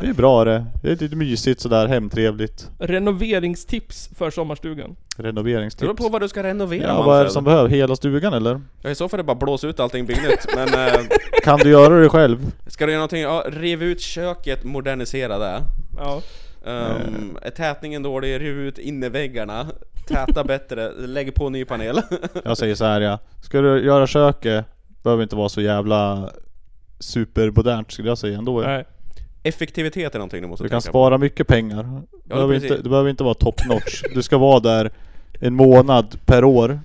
Det är bra det. Det är lite mysigt sådär, hemtrevligt. Renoveringstips för sommarstugan. Det beror Renoveringstips. på vad du ska renovera Ja, vad är det Manfred. som behövs? Hela stugan eller? Ja, i så fall är det bara blåsa ut allting, bygg nytt. Men eh, Kan du göra det själv? ska du göra någonting, ja, riv ut köket, modernisera det. Ja. Ehm, Eh. är tätningen dålig, riv ut inneväggarna. Täta bättre, lägg på ny panel. (laughs) Jag säger så här ja. Ska du göra köket, behöver inte vara så jävla supermodernt skulle jag säga ändå. Ja. Nej. Effektivitet är någonting du måste Du kan tänka på. spara mycket pengar. Du behöver, precis. inte, du behöver inte vara top notch. Du ska vara där en månad per år.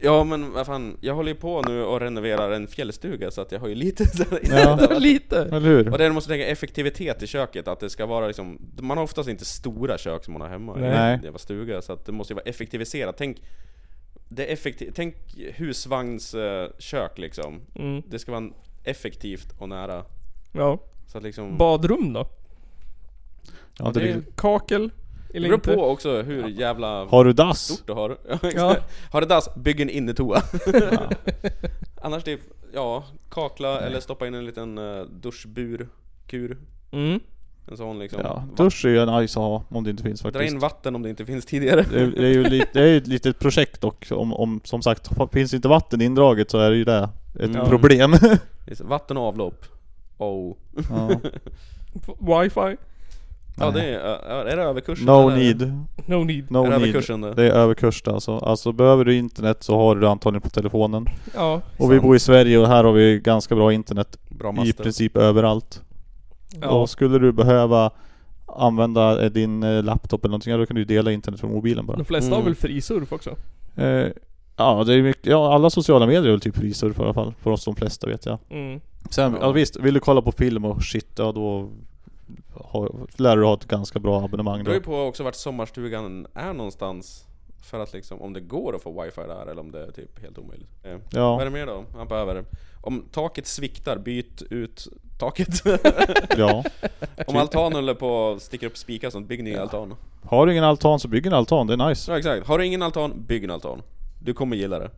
Ja men vad fan, jag håller ju på nu och renoverar en fjällstuga så att jag har ju lite (laughs) sådär Ja. inne där. Lite. Eller hur? Och det är- måste tänka effektivitet i köket, att det ska vara liksom Man har oftast inte stora kök som man har hemma Nej. i en jävla stuga, så att det måste ju vara effektiviserat Tänk det är effektiv, Tänk husvagnskök liksom Mm. Det ska vara effektivt och nära Ja. Så att liksom Badrum då? Ja, det är Eh, Kakel? Det Eller beror inte? på också hur jävla Har du dass? stort du har. Ja. (laughs) Ja. har du dass, bygg en innetoa. (laughs) Annars typ, ja, kakla eller stoppa in en liten eh, duschbur, kur. Mm. En sån liksom. Ja, Va- dusch är ju nice att ha om det inte finns Dra faktiskt. in vatten om det inte finns tidigare. Det är, det är ju lite, det är ju ett litet projekt och om, om som sagt, finns inte vatten indraget så är det ju det ett Mm. problem. (laughs) Visst, Vatten och avlopp. Oh. (laughs) Ja. Wifi? ja det är, ja, är det överkursen? No eller? need. No need. No Är det need. överkursen det? Det är överkurs det, alltså. Alltså behöver du internet så har du det antagligen på telefonen. Ja, och vi bor i Sverige och här har vi ganska bra internet. Bra I master. princip överallt. Ja. Och skulle du behöva använda eh, din eh, laptop eller någonting, ja, då kan du ju dela internet från mobilen bara. De flesta har väl fri surf också? Eh, ja, det är mycket, ja, alla sociala medier är väl typ frisurf i alla fall. För oss de flesta vet jag. Mm. Sen, ja. visst, vill du kolla på film och shit, ja då har, lär du ha ett ganska bra Det abonnemang beror då. ju på också vart sommarstugan är någonstans. För att liksom, om det går att få wifi där eller om det är typ helt omöjligt. Eh, Ja. Vad är det mer då? Han behöver Om taket sviktar, byt ut (laughs) taket. Ja. om Typ. altanen håller på att sticka upp spikar och sånt, bygg ny altan. Har du ingen altan så bygg en altan, det är nice. Ja exakt. Har du ingen altan, bygg en altan. Du kommer gilla det.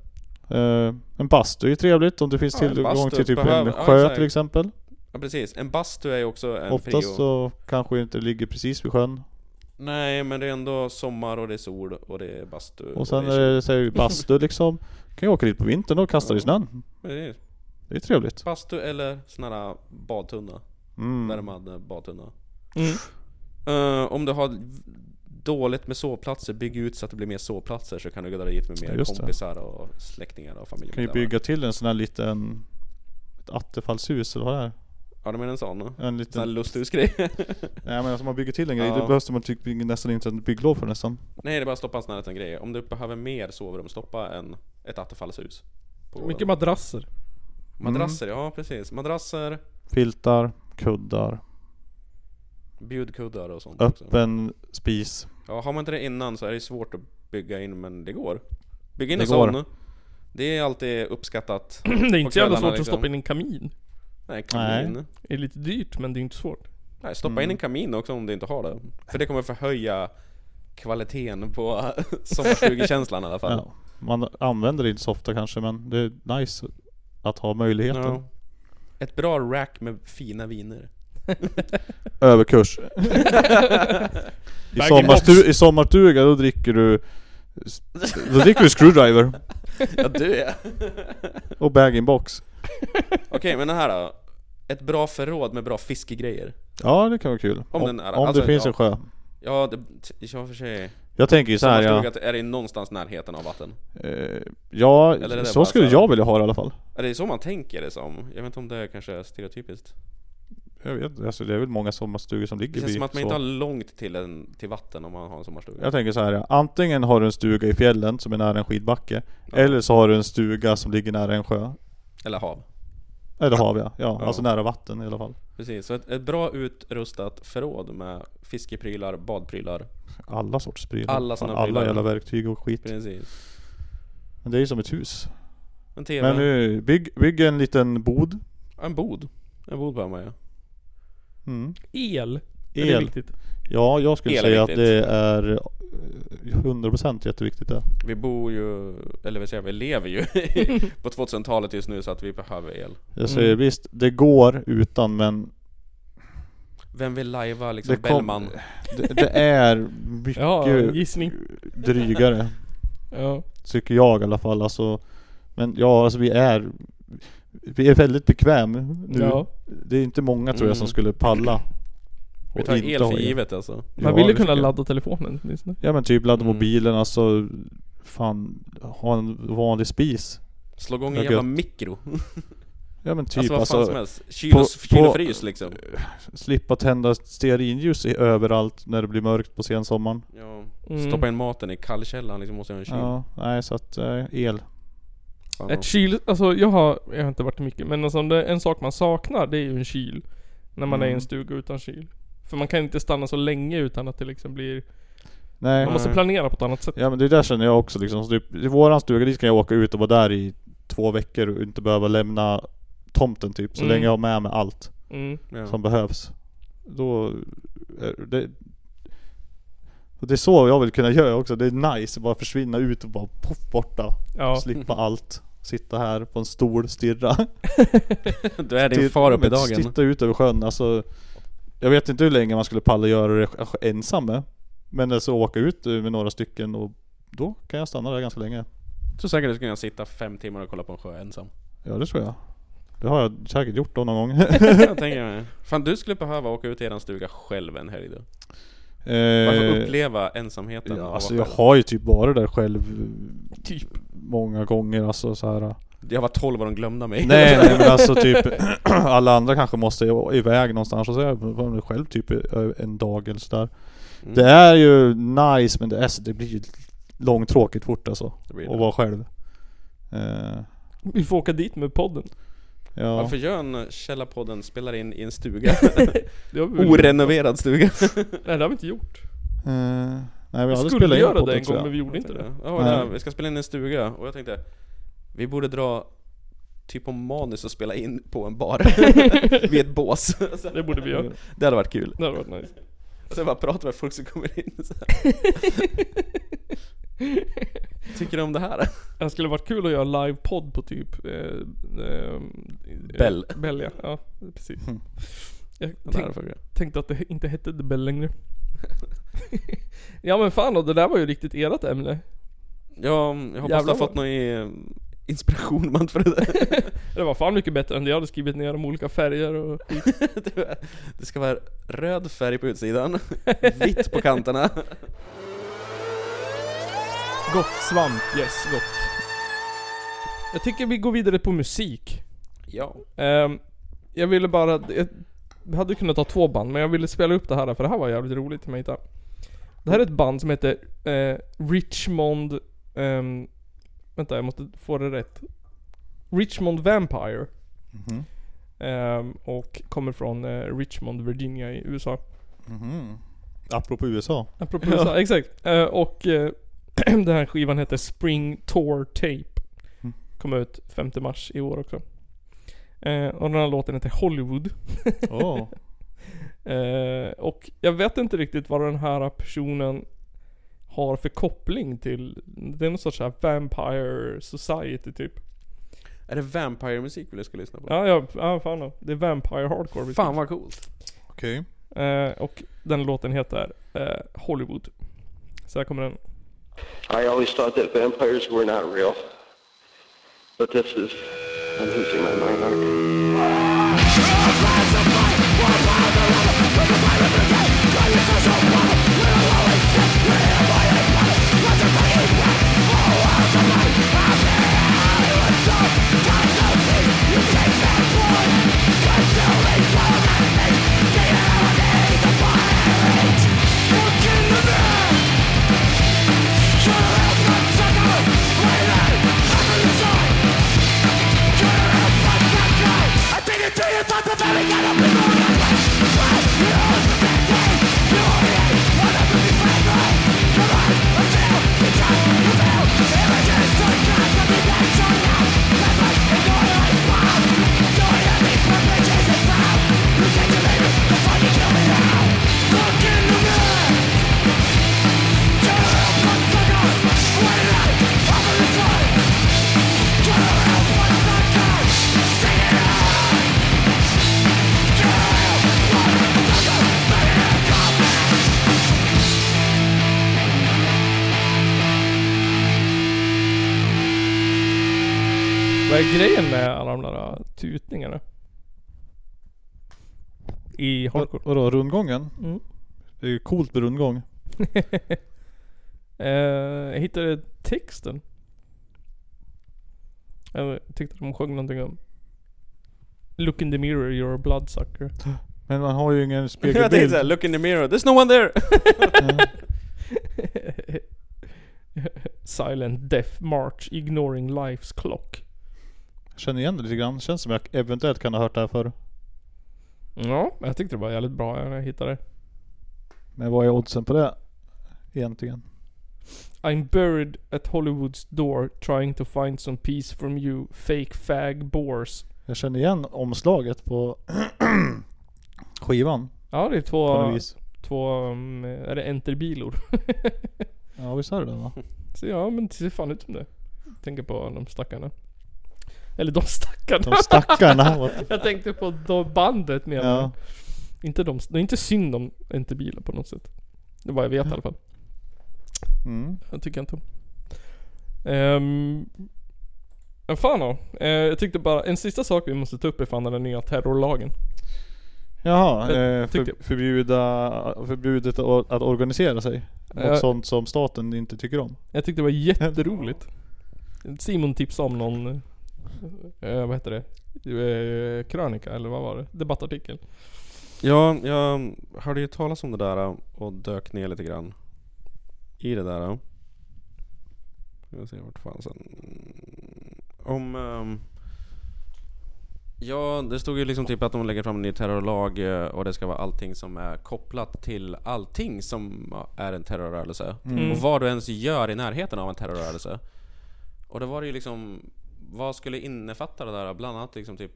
Eh, en bastu är ju trevligt om det finns Ja, en tillgång bastu till typ behöver- en ja, sjö exakt. till exempel. Ja precis. En bastu är ju också en prio. Oftast så kanske det inte ligger precis vid sjön. Nej men det är ändå sommar och det är sol och det är bastu. Och sen det är det så är det ju (laughs) bastu liksom. kan ju åka dit på vintern och kasta i snön. Precis. Det är trevligt. Bastu eller sån här badtunna. Mm. Värmad badtunna. Mm. Eh, om du har dåligt med sovplatser, bygg ut så att det blir mer sovplatser så kan du gå dit med mer Just det. kompisar och släktingar och Du kan ju familjemedlemmar. bygga till en sån här liten... Ett attefallshus eller vad det är. Ja, du menar en sån? En liten... Sån här (laughs) lusthusgrej. Nej men alltså man bygger till en grej, Ja. det behövs man typ nästan inte en bygglov för nästan. Nej, det är bara att stoppa en sån här liten grej. Om du behöver mer sovrum, stoppa en, ett attefallshus. På- Mycket madrasser. (clears throat) Madrasser, ja precis. Madrasser, Filtar, kuddar, bjudkuddar och sånt också. öppen spis. Ja, har man inte det innan så är det svårt att bygga in, men det går. Bygg in Det en går. sån. Det är alltid uppskattat. det är på inte så jävla kvällarna, svårt att liksom. stoppa in en kamin. Nej, kamin. Det är lite dyrt men det är inte svårt. Nej, stoppa Mm. in en kamin också om du inte har det. För det kommer förhöja kvaliteten på (laughs) sommarstugekänslan i alla fall. Ja. Man använder det inte så ofta kanske men det är nice att ha möjligheten. Ja. Ett bra rack med fina viner. (laughs) Överkurs. I, Bag-in-box. sommarstu- I sommarstuga då dricker du... Då dricker du screwdriver. Ja, du ja. Och bag-in-box. Okej, men det här då. Ett bra förråd med bra fiskegrejer. Ja det kan vara kul. Om, den är- om alltså, det finns ja. en sjö. Ja, det, ja för sig. Jag tänker ju så här, ja. Sommarstuga, Är det någonstans i närheten av vatten? Eh, ja, Eller är det så bara skulle så här- jag vilja ha det i alla fall. Är det så man tänker det som? Jag vet inte om det är kanske är stereotypiskt. Jag vet inte, alltså det är väl många sommarstugor som ligger Det känns vid som att man så. inte har långt till, en, till vatten om man har en sommarstuga. Jag tänker så här, ja. antingen har du en stuga i fjällen som är nära en skidbacke Eller så har du en stuga som ligger nära en sjö Eller hav. Eller hav ja, ja, Ja. alltså nära vatten i alla fall Precis, så ett, ett bra utrustat förråd med fiskeprylar, badprylar. Alla sorts prylar Alla såna Fan, Alla prylar. jävla verktyg och skit Precis. Men det är ju som ett hus En TV. Men nu, bygg, bygg en liten bod En bod. En bod behöver man ju. mm. El. El. Det är viktigt. Ja, jag skulle El är säga att viktigt. det är eh, 100% jätteviktigt det Vi bor ju, eller vad säger jag, vi lever ju (laughs) på 2000-talet just nu så att vi behöver el. Jag säger visst, det går utan men Vem vill lajva liksom Det kom- Bellman? det, det är mycket Ja, gissning. drygare. Ja. Tycker jag i alla fall. Alltså, men ja, alltså vi är... Vi är väldigt bekväm nu. Ja. Det är inte många tror jag som Mm. skulle palla. Vi och tar inte el ha för givet alltså. Man vill ju det kunna tycker jag. ladda telefonen åtminstone. Ja men typ Mm. ladda mobilen alltså. Fan, ha en vanlig spis. Slå igång Vad en jävla gött. mikro. Typ, Ja men typ Alltså, vad fan som helst. Kyl- kyl och frys, liksom. Slippa tända stearinljus i- överallt när det blir mörkt på sensommaren. Ja. Mm. Stoppa in maten i kallkällan liksom, måste jag ha en kyl. Ja, nej så att eh, el. Fan, Ett kyl, alltså jag har, jag har inte varit mycket men alltså, om det, en sak man saknar det är ju en kyl. När man är i Mm. en stuga utan kyl. För man kan inte stanna så länge utan att det liksom blir... Nej. Man måste Nej. planera på ett annat sätt. Ja men det där känner jag också liksom. Så typ, I våran stuga dit kan jag åka ut och vara där i två veckor och inte behöva lämna tomten typ. Så Mm. länge jag har med mig allt Mm. Ja. som behövs. Då... Är det, och det är så jag vill kunna göra också. Det är nice att bara försvinna ut och bara poff borta. Ja. Slippa allt. Sitta här på en stol, stirra. (laughs) Då (laughs) är din far uppe i Men dagen. Titta ut över sjön. Alltså, jag vet inte hur länge man skulle palla göra det alltså, ensam med. Men alltså åka ut med några stycken och då kan jag stanna där ganska länge. Jag tror säkert du skulle kunna sitta fem timmar och kolla på en sjö (laughs) ensam. Ja det tror jag. Det har jag säkert gjort då (laughs) någon gång. jag tänker mig. Fan du skulle behöva åka ut i eran stuga själv en helg då. Bara för att Eh, uppleva ensamheten av att Alltså vara jag själv. har ju typ varit där själv typ. många gånger alltså så här. Jag var 12 och de glömde mig. Nej nej men alltså typ (clears throat) alla andra kanske måste iväg någonstans och så jag var själv typ en dag eller sådär. Mm. Det är ju nice men det, är, så- det blir ju långtråkigt fort alltså. Det blir det. Att vara själv. Eh, Vi får åka dit med podden. ja. (laughs) Varför gör en Källarpodden spelar in i en (laughs) stuga? Det har vi väl gjort. Orenoverad stuga. Nej det har vi inte gjort. Eh, nej Vi vi hade skulle spelat in göra podden, det en tror gång jag. men vi gjorde inte det. Ja, Nej. där, vi ska spela in i en stuga och jag tänkte Vi borde dra typ om manus och spela in på en bar Vid ett bås Det borde vi göra. Det hade varit kul Det hade varit nice. Och sen bara prata med folk som kommer in så här. Tycker du om det här? Det skulle varit kul att göra livepodd på typ... Eh, eh, Bell. eh, Bell ja. ja, precis. Mm. Jag Ja, det hade tänk, funkat. tänkte att det inte hette The Bell längre. (laughs) ja men fan då, det där var ju riktigt ert ämne. Ja, jag hoppas du Jävlar har fått någon eh, inspiration man för det (laughs) där. Det var fan mycket bättre än det jag hade skrivit ner om olika färger och skit. Det ska vara röd färg på utsidan Vitt på kanterna Gott svamp, yes, gott. Jag tycker vi går vidare på musik. Ja. Ehm, jag ville bara... Jag hade kunnat ta två band, men jag ville spela upp det här för det här var jävligt roligt att hitta. Det här är ett band som heter eh, Richmond... ehm, vänta, jag måste få det rätt. Richmond Vampire. Mhm. Ehm, och kommer från eh, Richmond, Virginia i USA. Mhm. (laughs) Apropå USA. Apropå USA, exakt. Eh, och eh, (clears throat) den här skivan heter Spring Tour Tape. Kom ut 5 mars i år också. Eh, och den här låten heter Hollywood. Åh. Eh, och jag vet inte riktigt vad den här personen har för koppling till... Det är någon sorts så här Vampire Society typ. Är det Vampire-musik vi ska lyssna på? Ja, ja, ja fan då. Det är Vampire Hardcore vi ska Fan vad coolt. Okej. Eh, och den låten heter eh, Hollywood. Så här kommer den. I always thought that vampires were not real. But this is. I'm losing my mind. Vad är grejen med alla de där eh, tutningarna? I hardcore. Vadå, rundgången? Mm. Det är ju coolt med rundgång. Eh, jag hittade texten. Jag tyckte de sjöng någonting om... Look in the mirror, you're a bloodsucker. (laughs) Men man har ju ingen (laughs) Jag tänkte såhär, spegelbild. look in the mirror, there's no one there! (laughs) Silent death march ignoring life's clock. Jag känner igen det lite grann. Känns som jag eventuellt kan ha hört det här förr. Ja, jag tyckte det var jävligt bra när jag hittade det. Men vad är oddsen på det? Egentligen. I'm buried at Hollywood's door trying to find some peace from you fake fag bores. Jag känner igen omslaget på (clears throat) skivan. Ja, det är På två... något vis. Två... um, Är det enterbilor? (laughs) Ja visst är det det va? Så ja, men det ser fan ut som det. Tänker på de stackarna. Eller de stackarna. De stackarna, vad- (laughs) jag tänkte på de bandet med. Ja. Inte de, det är inte synd om inte bilar på något sätt. Det är vad jag vet i alla fall. Mm. Jag tycker inte om. Ehm, men fan då. Eh, jag tyckte bara, en sista sak vi måste ta upp är fan den nya terrorlagen. Jaha, Jag eh, tyckte- för, förbjuda, förbjudet att or- att organisera sig. Något Ja. sånt som staten inte tycker om. Jag tyckte det var jätteroligt. Simon tipsade om någon, eh, vad heter det? Eh, krönika eller vad var det? Debattartikel. Ja, jag hörde ju talas om det där äh, och dök ner lite grann i det där. Ska vi se vart fan sen. Om... ehm, ja, det stod ju liksom typ att de lägger fram en ny terrorlag eh, och det ska vara allting som är kopplat till allting som äh, är en terrorrörelse. Mm. Och vad du ens gör i närheten av en terrorrörelse. Och det var det ju liksom... Vad skulle innefatta det där? Bland annat liksom typ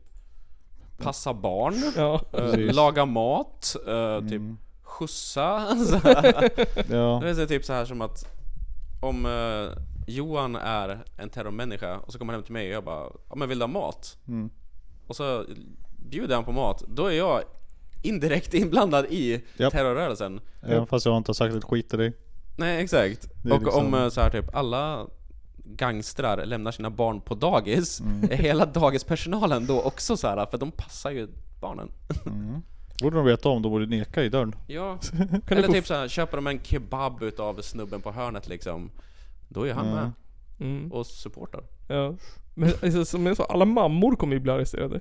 passa barn, Ja. eh, Precis. Mm. laga mat, eh, typ skjutsa. (laughs) så här. Ja. Det är så typ så här som att om eh, Johan är en terrormänniska och så kommer han hem till mig och jag bara ja, men vill du ha mat? Mm. Och så bjuder han på mat, då är jag indirekt (laughs) inblandad i Japp. terrorrörelsen. Även fast jag inte har sagt ett skit till dig. Nej exakt. Det är Och liksom- om eh, så här typ alla gangstrar lämnar sina barn på dagis, Mm. är (laughs) hela dagispersonalen då också så här för de passar ju barnen. Mm. Borde de veta om, de borde neka i dörren. (laughs) Ja, Kan du eller få- typ såhär, köper de en kebab utav snubben på hörnet liksom Då är han Mm. med. Mm. Och supportar. Ja. Men alltså, som jag sa, alla mammor kommer ju bli arresterade.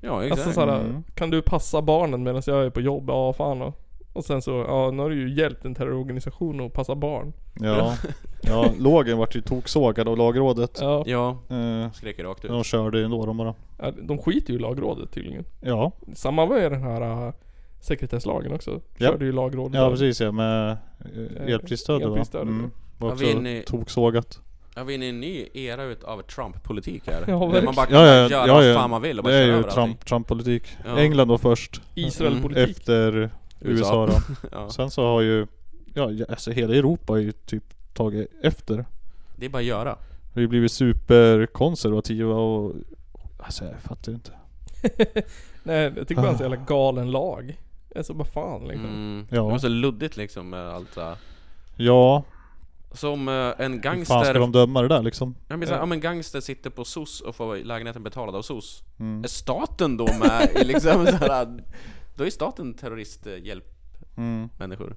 Ja, exakt. Alltså såhär, Mm. kan du passa barnen medan jag är på jobb? Ja, fan då. Och sen så, ja nu har du ju hjälpt en terrororganisation att passa barn. Ja, ja lågen vart ju toksågad av lagrådet. Ja. Eh, Skrek ju rakt ut. De körde ju ändå de bara. Ja, De skiter ju i lagrådet tydligen. Ja. Samma var ju den här äh, sekretesslagen också. Ja. Körde ju lagrådet Ja där. precis ja, med Eh, eh, elprisstödet va? elprisstödet, ja. Mm. Var Ja, också vi är inne i- toksågat. Ja, vi är inne i en ny era utav Trump-politik (laughs) här. Ja, där verkligen. man bara kan Ja, ja, göra ja, vad ja. fan man vill och bara det är köra ju över allting. Trump, Trump-politik. Ja. England var först. Israel-politik. Mm. Efter USA, USA. då. (laughs) Ja. (laughs) Sen så har ju, ja ja, alltså hela Europa har ju typ tagit efter. Det är bara att göra. Vi har ju blivit superkonservativa och, alltså jag fattar inte. Nej, jag tycker bara att det är en Ah. jävla galen lag. Alltså vad fan liksom. Mm. Ja. Det var så luddigt liksom med allt det här. Ja, Som eh, en gangster... hur fan ska de döma det där liksom? Ja, men, så här, ja, men gangster sitter på SOS och får lägenheten betalad av SOS. Mm. Är staten då med i liksom så här, (laughs) Då är staten terroristhjälp Mm. människor.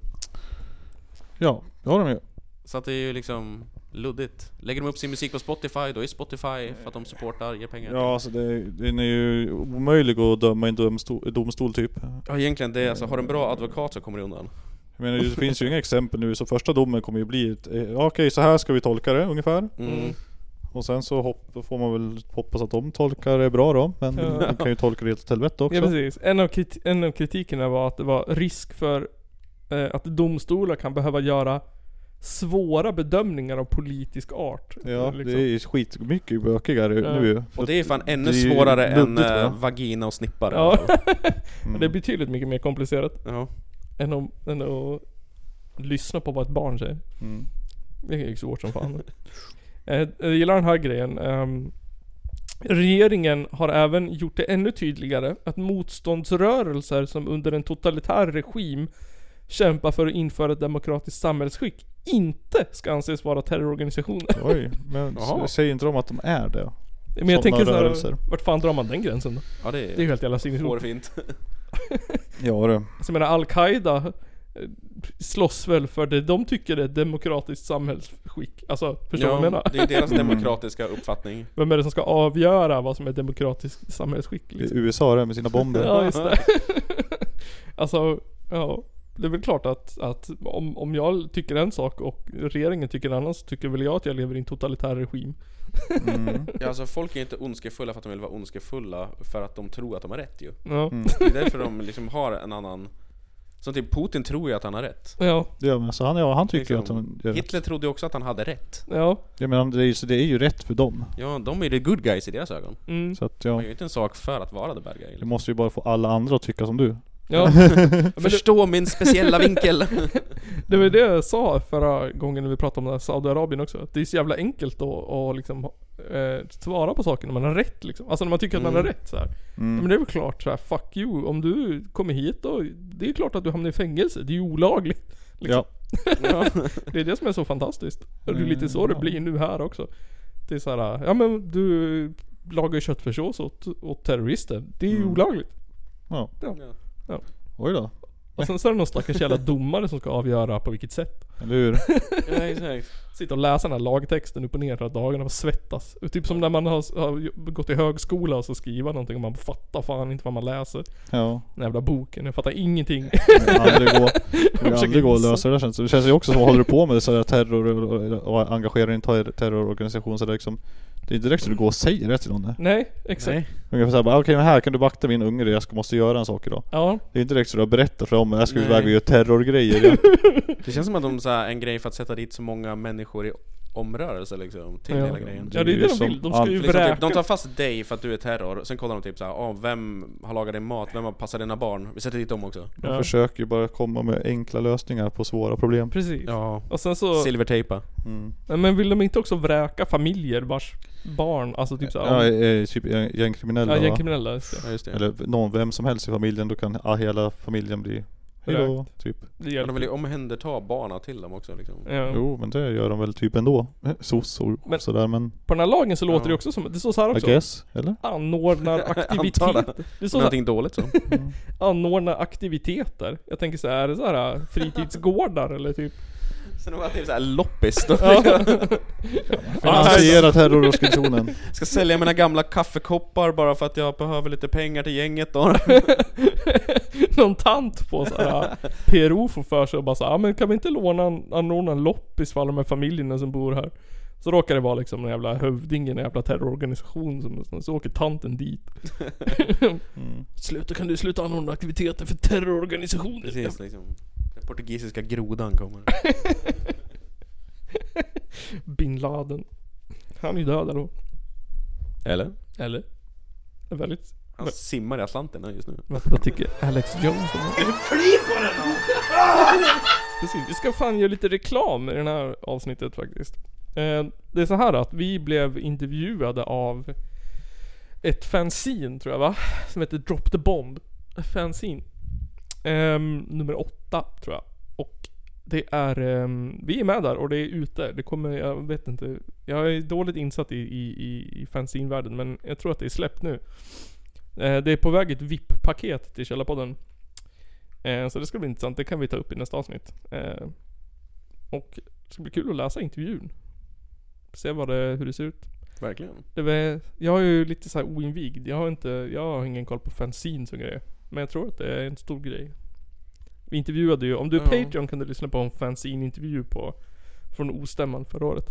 Ja, det har de ju. Så att det är ju liksom luddigt. Lägger de upp sin musik på Spotify, då är Spotify för att de supportar, ger pengar. Ja alltså det, den är ju omöjlig att döma i en domstol, domstol typ. Ja egentligen det, alltså har du en bra advokat så kommer du undan. Jag menar, det finns ju inga exempel nu, så första domen kommer ju bli ett, eh, ja, okej så här ska vi tolka det ungefär. Mm. Och sen så hopp, då får man väl hoppas att de tolkar det bra då, men Ja. de kan ju tolka det helt åt helvete också. Ja precis. En av, kriti- en av kritikerna var att det var risk för eh, att domstolar kan behöva göra svåra bedömningar av politisk art. Ja, Liksom. det är skitmycket bökigare Ja. nu ju. Och det är fan ännu Det är ju svårare än luddigt, eh, va? vagina och snippare. Ja. Mm. Det är betydligt mycket mer komplicerat. Ja. Än, om, än att lyssna på vad ett barn säger. Mm. Det är ju svårt som fan. Eh, Jag gillar den här grejen. Ehm, regeringen har även gjort det ännu tydligare att motståndsrörelser som under en totalitär regim kämpar för att införa ett demokratiskt samhällsskick inte ska anses vara terrororganisationer. Oj, men Jaha. s- säger inte de att de är det? Men jag tänker såhär, rörelser. vart fan drar man den gränsen då? Ja, det är ju helt jävla sinnessjukt. hårfint. Ja du. Alltså jag menar Al-Qaida eh, slåss väl för det de tycker är ett demokratiskt samhällsskick. Alltså, förstår du vad jag menar? Det är deras demokratiska uppfattning. Vem är det som ska avgöra vad som är ett demokratiskt samhällsskick? Det är Liksom? USA det med sina bomber. Ja, just det. (laughs) alltså, ja. Det är väl klart att, att om, om jag tycker en sak och regeringen tycker en annan så tycker väl jag att jag lever i en totalitär regim. Ja, alltså folk är inte ondskefulla för att de vill vara ondskefulla för att de tror att de har rätt ju. Ja. Mm. Det är därför de liksom har en annan... Som typ Putin tror ju att han har rätt. (laughs) Ja. Ja men så han, ja, han tycker ju att Liksom, de gör rätt. Hitler trodde ju också att han hade rätt. Ja. Ja men det är, ju- så det är ju rätt för dem. Ja, de är the good guys i deras ögon. Mm. Så att ja, Man gör ju inte en sak för att vara the bad guy. liksom. du (laughs) måste ju bara få alla andra att tycka som du. (laughs) Ja. Förstå min speciella vinkel. det var ju det jag sa förra gången när vi pratade om det här Saudiarabien också. Att det är så jävla enkelt att, att liksom, eh, svara på saker när man har rätt liksom. Alltså när man tycker att man Mm. har rätt så här. Mm. Ja, Men det är väl klart så här, fuck you. Om du kommer hit då, det är klart att du hamnar i fängelse. Det är ju olagligt. Liksom. Ja. det är det som är så fantastiskt. Och det är lite så Mm, det ja. blir nu här också. Det är så här, ja men du lagar ju köttfärssås åt, åt terrorister. Det är Mm. ju olagligt. Ja. Ja. ja. Oj då. Och sen så är det någon (laughs) stackars jävla domare som ska avgöra på vilket sätt. (laughs) Eller hur? (laughs) Ja, exakt. Sitta och läsa den här lagtexten upp och ner hela dagarna och svettas. Typ som när man har, har gått i högskola och så skriver någonting och man fattar fan inte vad man läser. Ja. Den jävla boken, jag fattar ingenting. (laughs) kommer aldrig gå, Jag kommer försöker aldrig gå att gissa. lösa det där känns det. Det känns ju också som, vad håller du på med? Sådär terror och, och engagerar i en terror, terrororganisation så det är liksom Det är inte direkt så du går och säger det till någon. där. Nej, exakt. Nej. Ungefär såhär bara, okej men här kan du vakta min unge, jag ska, måste göra en sak idag. Ja. Det är inte direkt så du berättar för dem, jag ska Nej. iväg och göra terrorgrejer. Ja. Det känns som att de så här, en grej för att sätta dit så många människor i omrörelse liksom, till Ja. hela grejen. Ja, det är ju det de vill. De ska ju liksom, vräka. typ, De tar fast dig för att du är terror, sen kollar de typ såhär, ah, vem har lagat din mat? Vem har passat dina barn? Vi sätter dit dem också. (laughs) De försöker ju bara komma med enkla lösningar på svåra problem. Precis. Ja. Och sen så... Silvertejpa. Mm. Nej, Men vill de inte också vräka familjer vars barn, alltså typ Ja, såhär... eh, typ gäng- gängkriminella Ja, va? gängkriminella, just det. Ja, just det. Eller någon, vem som helst i familjen, då kan ah, hela familjen bli hejdå, typ. Men de vill ju omhänderta barna till dem också liksom. (laughs) Jo men det gör de väl typ ändå. (laughs) SOS och Men- sådär men... På den här lagen så låter det också som, det står så här I också. guess, eller? Anordnar Antar det. aktiviteter. så Någonting här- dåligt så. Anordna aktiviteter. Jag tänker så här, är det så här fritidsgårdar äh, eller typ? (laughs) Så de var typ såhär loppis då. Ja. (laughs) Finansiera (laughs) terrororganisationen. Ska sälja mina gamla kaffekoppar bara för att jag behöver lite pengar till gänget då. Någon tant på äh, såhär, PRO får för sig och bara såhär, "Ah, men kan vi inte låna, en- anordna en loppis för alla de här familjerna som bor här? Så råkar det vara liksom en jävla hövding i en jävla terrororganisation som, som- så åker tanten dit. Mm. Sluta, kan du sluta anordna aktiviteter för terrororganisationer? Precis liksom. Den portugisiska grodan kommer. (laughs) Bin Laden. Han är ju död då. Eller? Eller? Det är Väldigt... Han simmar i Atlanten just nu. Vad, vad tycker Alex Jones om det? (laughs) Precis, vi ska fan göra lite reklam i det här avsnittet faktiskt. Eh, Det är så här att vi blev intervjuade av ett fanzine tror jag va? Som heter Drop the Bomb. Fanzine. Ehm, nummer åtta tror jag. Och det är, ehm, vi är med där och det är ute. Det kommer, jag vet inte. Jag är dåligt insatt i, i, i, i fanzinvärlden men jag tror att det är släppt nu. Eh, Det är på väg ett VIP-paket till Källarpodden. Eh, Så det ska bli intressant. Det kan vi ta upp i nästa avsnitt. Eh, Och det ska bli kul att läsa intervjun. Se vad det, hur det ser ut. Verkligen. Det var, jag är ju lite så här oinvigd. Jag har, inte, jag har ingen koll på fanzines och grejer. Men jag tror att det är en stor grej. Vi intervjuade ju, om du är Ja. Patreon kan du lyssna på en fanzine-intervju på från ostämman förra året.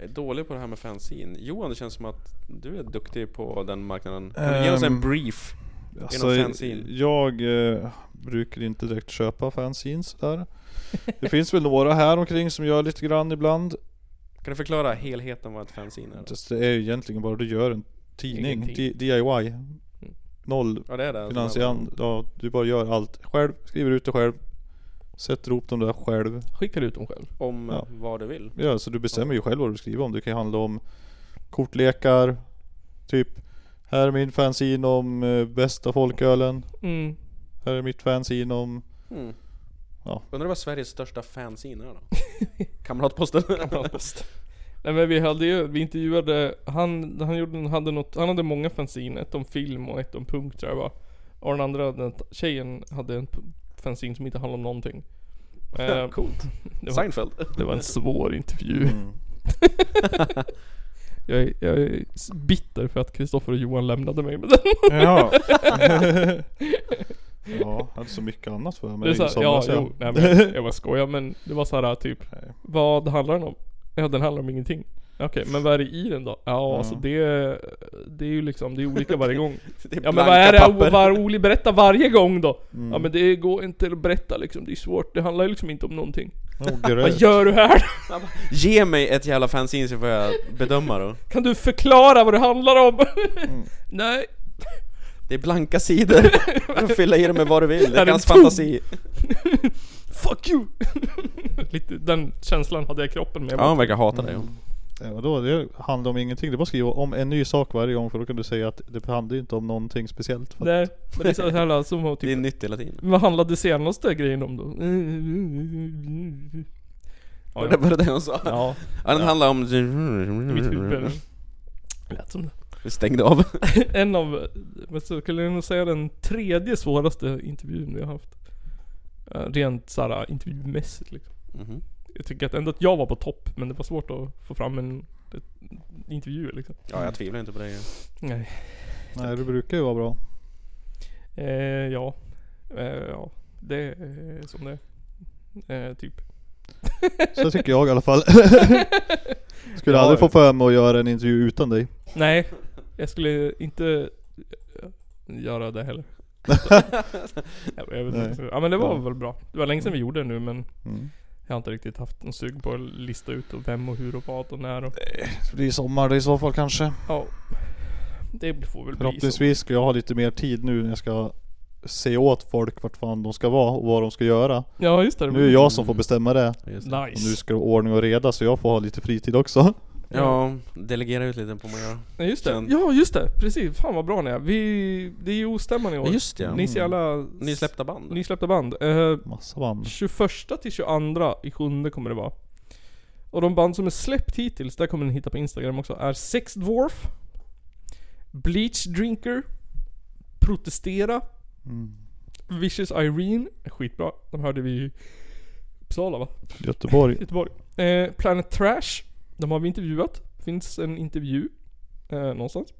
Jag är dålig på det här med fanzine. Johan, det känns som att du är duktig på den marknaden. Kan du ge oss en Ehm, brief? Alltså, genom fanzine? jag eh, brukar inte direkt köpa fanzines där. Det finns väl några här omkring som gör lite grann ibland. Kan du förklara helheten vad ett fanzine är? Det är ju egentligen bara du gör en tidning, Egen D- DIY. Alltså, Noll Ja, det är det. finansiant. Ja, du bara gör allt själv, skriver ut det själv. Sätter ihop dem där själv. Skickar ut dem själv. Om Ja. vad du vill. Ja, så du bestämmer ju själv vad du skriver om. Det kan ju handla om kortlekar, typ här är min fanzine om eh, bästa folkölen. Mm. Här är mitt fanzine om... Mm. Ja. Undrar vad Sveriges största fanzine är då? (laughs) Kamratposten. Kamratposten. Nej men vi hade ju, vi intervjuade, han, han gjorde, hade något, han hade många fanzine, ett om film och ett om punk tror jag det var. Och den andra, den t- tjejen hade en p- fanzine som inte handlade om någonting. Eh, (laughs) Coolt. det var- Seinfeld. (laughs) (laughs) Det var en svår intervju. Mm. jag, är, jag är s- bitter för att Kristoffer och Johan lämnade mig med den. Ja. (laughs) ja, hade så mycket annat för mig det är i så här, ja, somras, ja. jo, nej, men jag, jag bara skojar men det var så här typ Vad handlar den om? Ja den handlar om ingenting Okej men vad är det i den då? Ja alltså det Det är ju liksom, det är olika varje gång Det är Ja men vad blanka är det papper. var Oli berättar varje gång då? Mm. Ja men det går inte att berätta liksom, det är svårt Det handlar ju liksom inte om någonting Åh, Vad gröt. gör du här? (laughs) Ge mig ett jävla fanzine så får jag bedöma då. Kan du förklara vad det handlar om? Mm. (laughs) Nej Det är blanka sidor. Du får fylla i dem med vad du vill. Det Här är är hans en tom. fantasi. Fuck you! (laughs) Lite, den känslan hade jag i kroppen med Ja, han verkar hata dig. Ja, vadå? Det handlar om ingenting. Det är bara att skriva om en ny sak varje gång för då kan du säga att det handlar ju inte om någonting speciellt. För att- Nej, men det är så här (laughs) som att typ, Det är nytt hela tiden. Vad handlade senaste grejen om då? Var det- var det det hon sa? Ja. Ja, den handlar om... I mitt Mm. huvud. Lät som det. Vi stängde av. en av, men så skulle jag nog säga den tredje svåraste intervjun vi har haft. Eh, Rent såhär intervjumässigt liksom. Jag tycker att ändå att jag var på topp, men det var svårt att få fram en, ett, intervju liksom. Ja, jag tvivlar inte på dig. Nej. Nej, det brukar ju vara bra. Eh, ja. Eh, ja. Det är som det är. Eh, typ. Så tycker jag i alla (laughs) fall. Skulle Ja, aldrig ja. få för mig att göra en intervju utan dig. Nej. Jag skulle inte eh, göra det heller. jag vet inte. Nej. Ja men det var Ja. väl bra. Det var länge sedan vi gjorde det nu men Mm. jag har inte riktigt haft en sug på att lista ut och vem och hur och vad och när och... Det blir sommar i så fall kanske. Ja. Det får väl bli så. Förhoppningsvis ska jag ha lite mer tid nu när jag ska se åt folk vart fan de ska vara och vad de ska göra. Ja, just det. Nu är det jag som får bestämma det. Just det. Nice. Och nu ska det vara ordning och reda så jag får ha lite fritid också. Ja, delegera ut lite på mig. ja. Nej just det. Sen- Ja just det. Precis. Fan vad bra ni är. Vi... Det är ju ostämman i år. Ja, just det. Ni ser Mm. alla... Nysläppta band. Nysläppta band. Eh, Massa band. 21 till 22 i sjunde kommer det vara. Och de band som är släppt hittills, där kommer ni hitta på Instagram också, är Sex Dwarf, Bleach Drinker, Protestera, Mm. Vicious Irene, skitbra. De hörde vi ju Uppsala va? Göteborg. (laughs) Göteborg. Eh, Planet Trash. De har vi intervjuat. Finns en intervju. Eh, någonstans.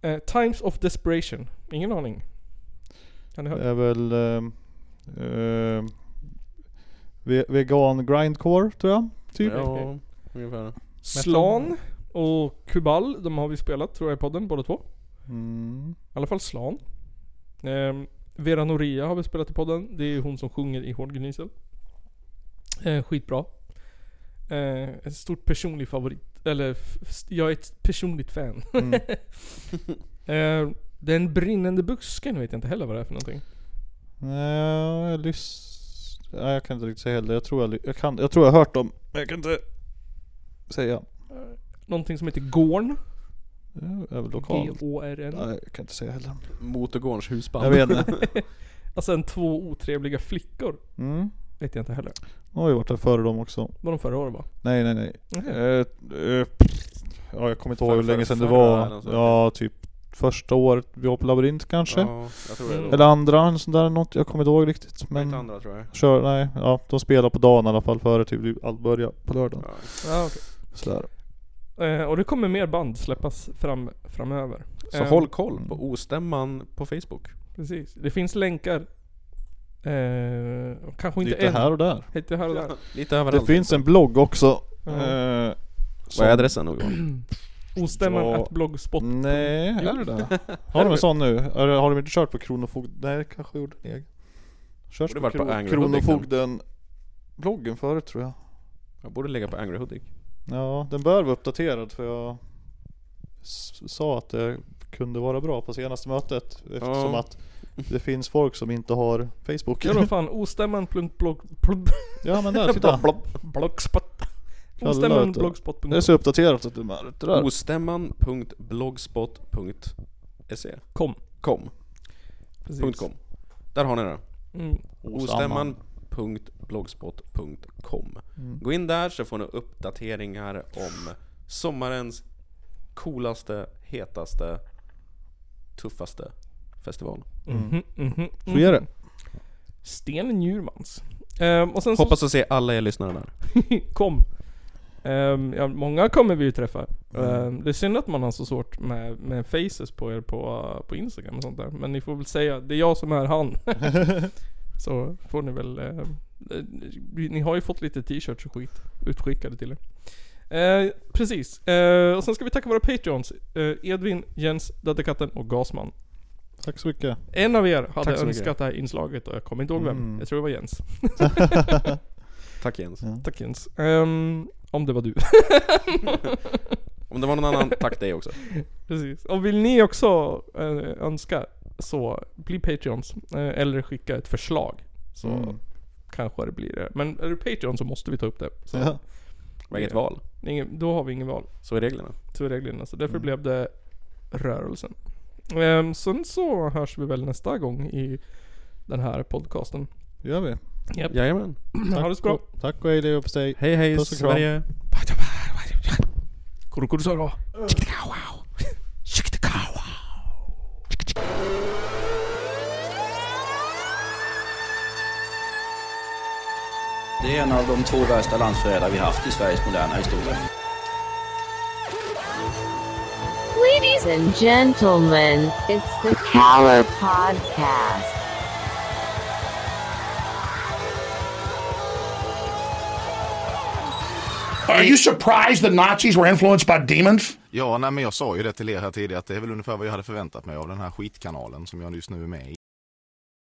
Eh, Times of Desperation. Ingen aning. Har ni hört? Det är väl... ehm, ehm, ve- vegan grindcore tror jag. Typ. Ja, ungefär. Slan och Kubal, de har vi spelat tror jag i podden båda två. Mm. I alla fall Slan. Ehm, Vera Noria har vi spelat i podden. Det är hon som sjunger i Hård Gnisel. Eh, skitbra. Eh, en stort personlig favorit. Eller f- f- jag är ett personligt (laughs) fan. Mm. eh, den brinnande busken vet jag inte heller vad det är för någonting. Nej, jag lys... Nej, jag kan inte riktigt säga heller. Jag tror jag, ly- jag, kan... jag tror jag har hört dem. Men jag kan inte säga. Någonting som heter Gorn. Det är väl lokalt. G-O-R-N. Nej, jag kan inte säga heller. Motorgårdens husband. Jag (laughs) vet inte. och sen Alltså två otrevliga flickor. Mm. Vet jag inte heller. De har ju varit där före dem också. Var de förra året va? Nej, nej, nej. Okej. Eh, eh, pff, ja, jag kommer inte ihåg hur Förra- länge sedan det förra eller var. något sånt. Ja, typ första året vi var på labyrint kanske. Ja, jag tror det då. Eller andra, en sån där något. Jag kommer inte ihåg riktigt. Men Inte andra, tror jag. Kör, nej, ja, de spelar på dagen i alla fall före typ allt börjar på lördagen. Ja, okej. Sådär. Eh, och det kommer mer band släppas fram, framöver. Så Eh, håll koll på ostämman på Facebook. Precis. Det finns länkar. Eh, och kanske inte Lite än. här och där. Lite här och där. Lite Det finns en blogg också. Ja. Eh, som- Vad är adressen då Johan? Ostämman Ja. Mm. att blogspot. Nej, är det det? Har de en sån nu? Har har de inte kört på Kronofogden? Nej, det kanske gjorde en egen. Körs Borde på, varit på Kro- Angry Kronofogden bloggen förut tror jag. Jag borde lägga på Angry Hudik. Ja, den bör vara uppdaterad för jag s- sa att det kunde vara bra på senaste mötet eftersom Ja. att det finns folk som inte har Facebook. Ja då fan, ostämman.blog... (laughs) Ja men där, titta. Blogspot. Kallar Ostämman det. blogspot. Det är så uppdaterat att det är det där. Ostämman.blogspot.se Kom. Kom. Precis. Punkt .com. Där har ni det. Mm. Ostämman. .blogspot.com Mm. Gå in där så får ni uppdateringar om sommarens coolaste, hetaste, tuffaste festival. Mm. Mhm, mhm, Så är det. Sten Njurmans. Ehm, och sen så- Hoppas att se alla er lyssnare där. kom. Ehm, ja, många kommer vi ju träffa. Mm. Ehm, det är synd att man har så svårt med, med faces på er på, eh, på Instagram och sånt där. Men ni får väl säga, det är jag som är (laughs) han. så får ni väl... eh, eh, ni har ju fått lite t-shirts och skit utskickade till er. Eh, precis. Eh, och sen ska vi tacka våra Patreons. Eh, Edvin, Jens, Dödekatten och Gasman. Tack så mycket. En av er Tack hade så mycket. önskat det här inslaget och jag kommer inte ihåg vem. Mm. Jag tror det var (laughs) Jens. (laughs) Tack Jens. Tack Jens. Ehm, om det var du. Om det var någon annan, tack dig också. Precis. Och vill ni också eh, önska så bli Patreons. Eh, eller skicka ett förslag. Så Mm. kanske det blir det. Men är du Patreon så måste vi ta upp det. Så. Ja. Det var inget val. Ingen, då har vi inget val. Så är reglerna. Så är reglerna. Så därför blev det rörelsen. Ehm, sen så hörs vi väl nästa gång i den här podcasten. gör vi. Japp. Jajamän. Ha det så bra. och- Tack och hej leverpastej. Hej hej Puss och kram. Sverige. Kurukurusoro. Det är en av de två värsta landsförrädare vi haft i Sveriges moderna historia. Ladies and gentlemen, it's the Caller Podcast. Are you surprised the Nazis were influenced by demons? Ja, nej, men jag sa ju det till er här tidigare att det är väl ungefär vad jag hade förväntat mig av den här skitkanalen som jag just nu är med i.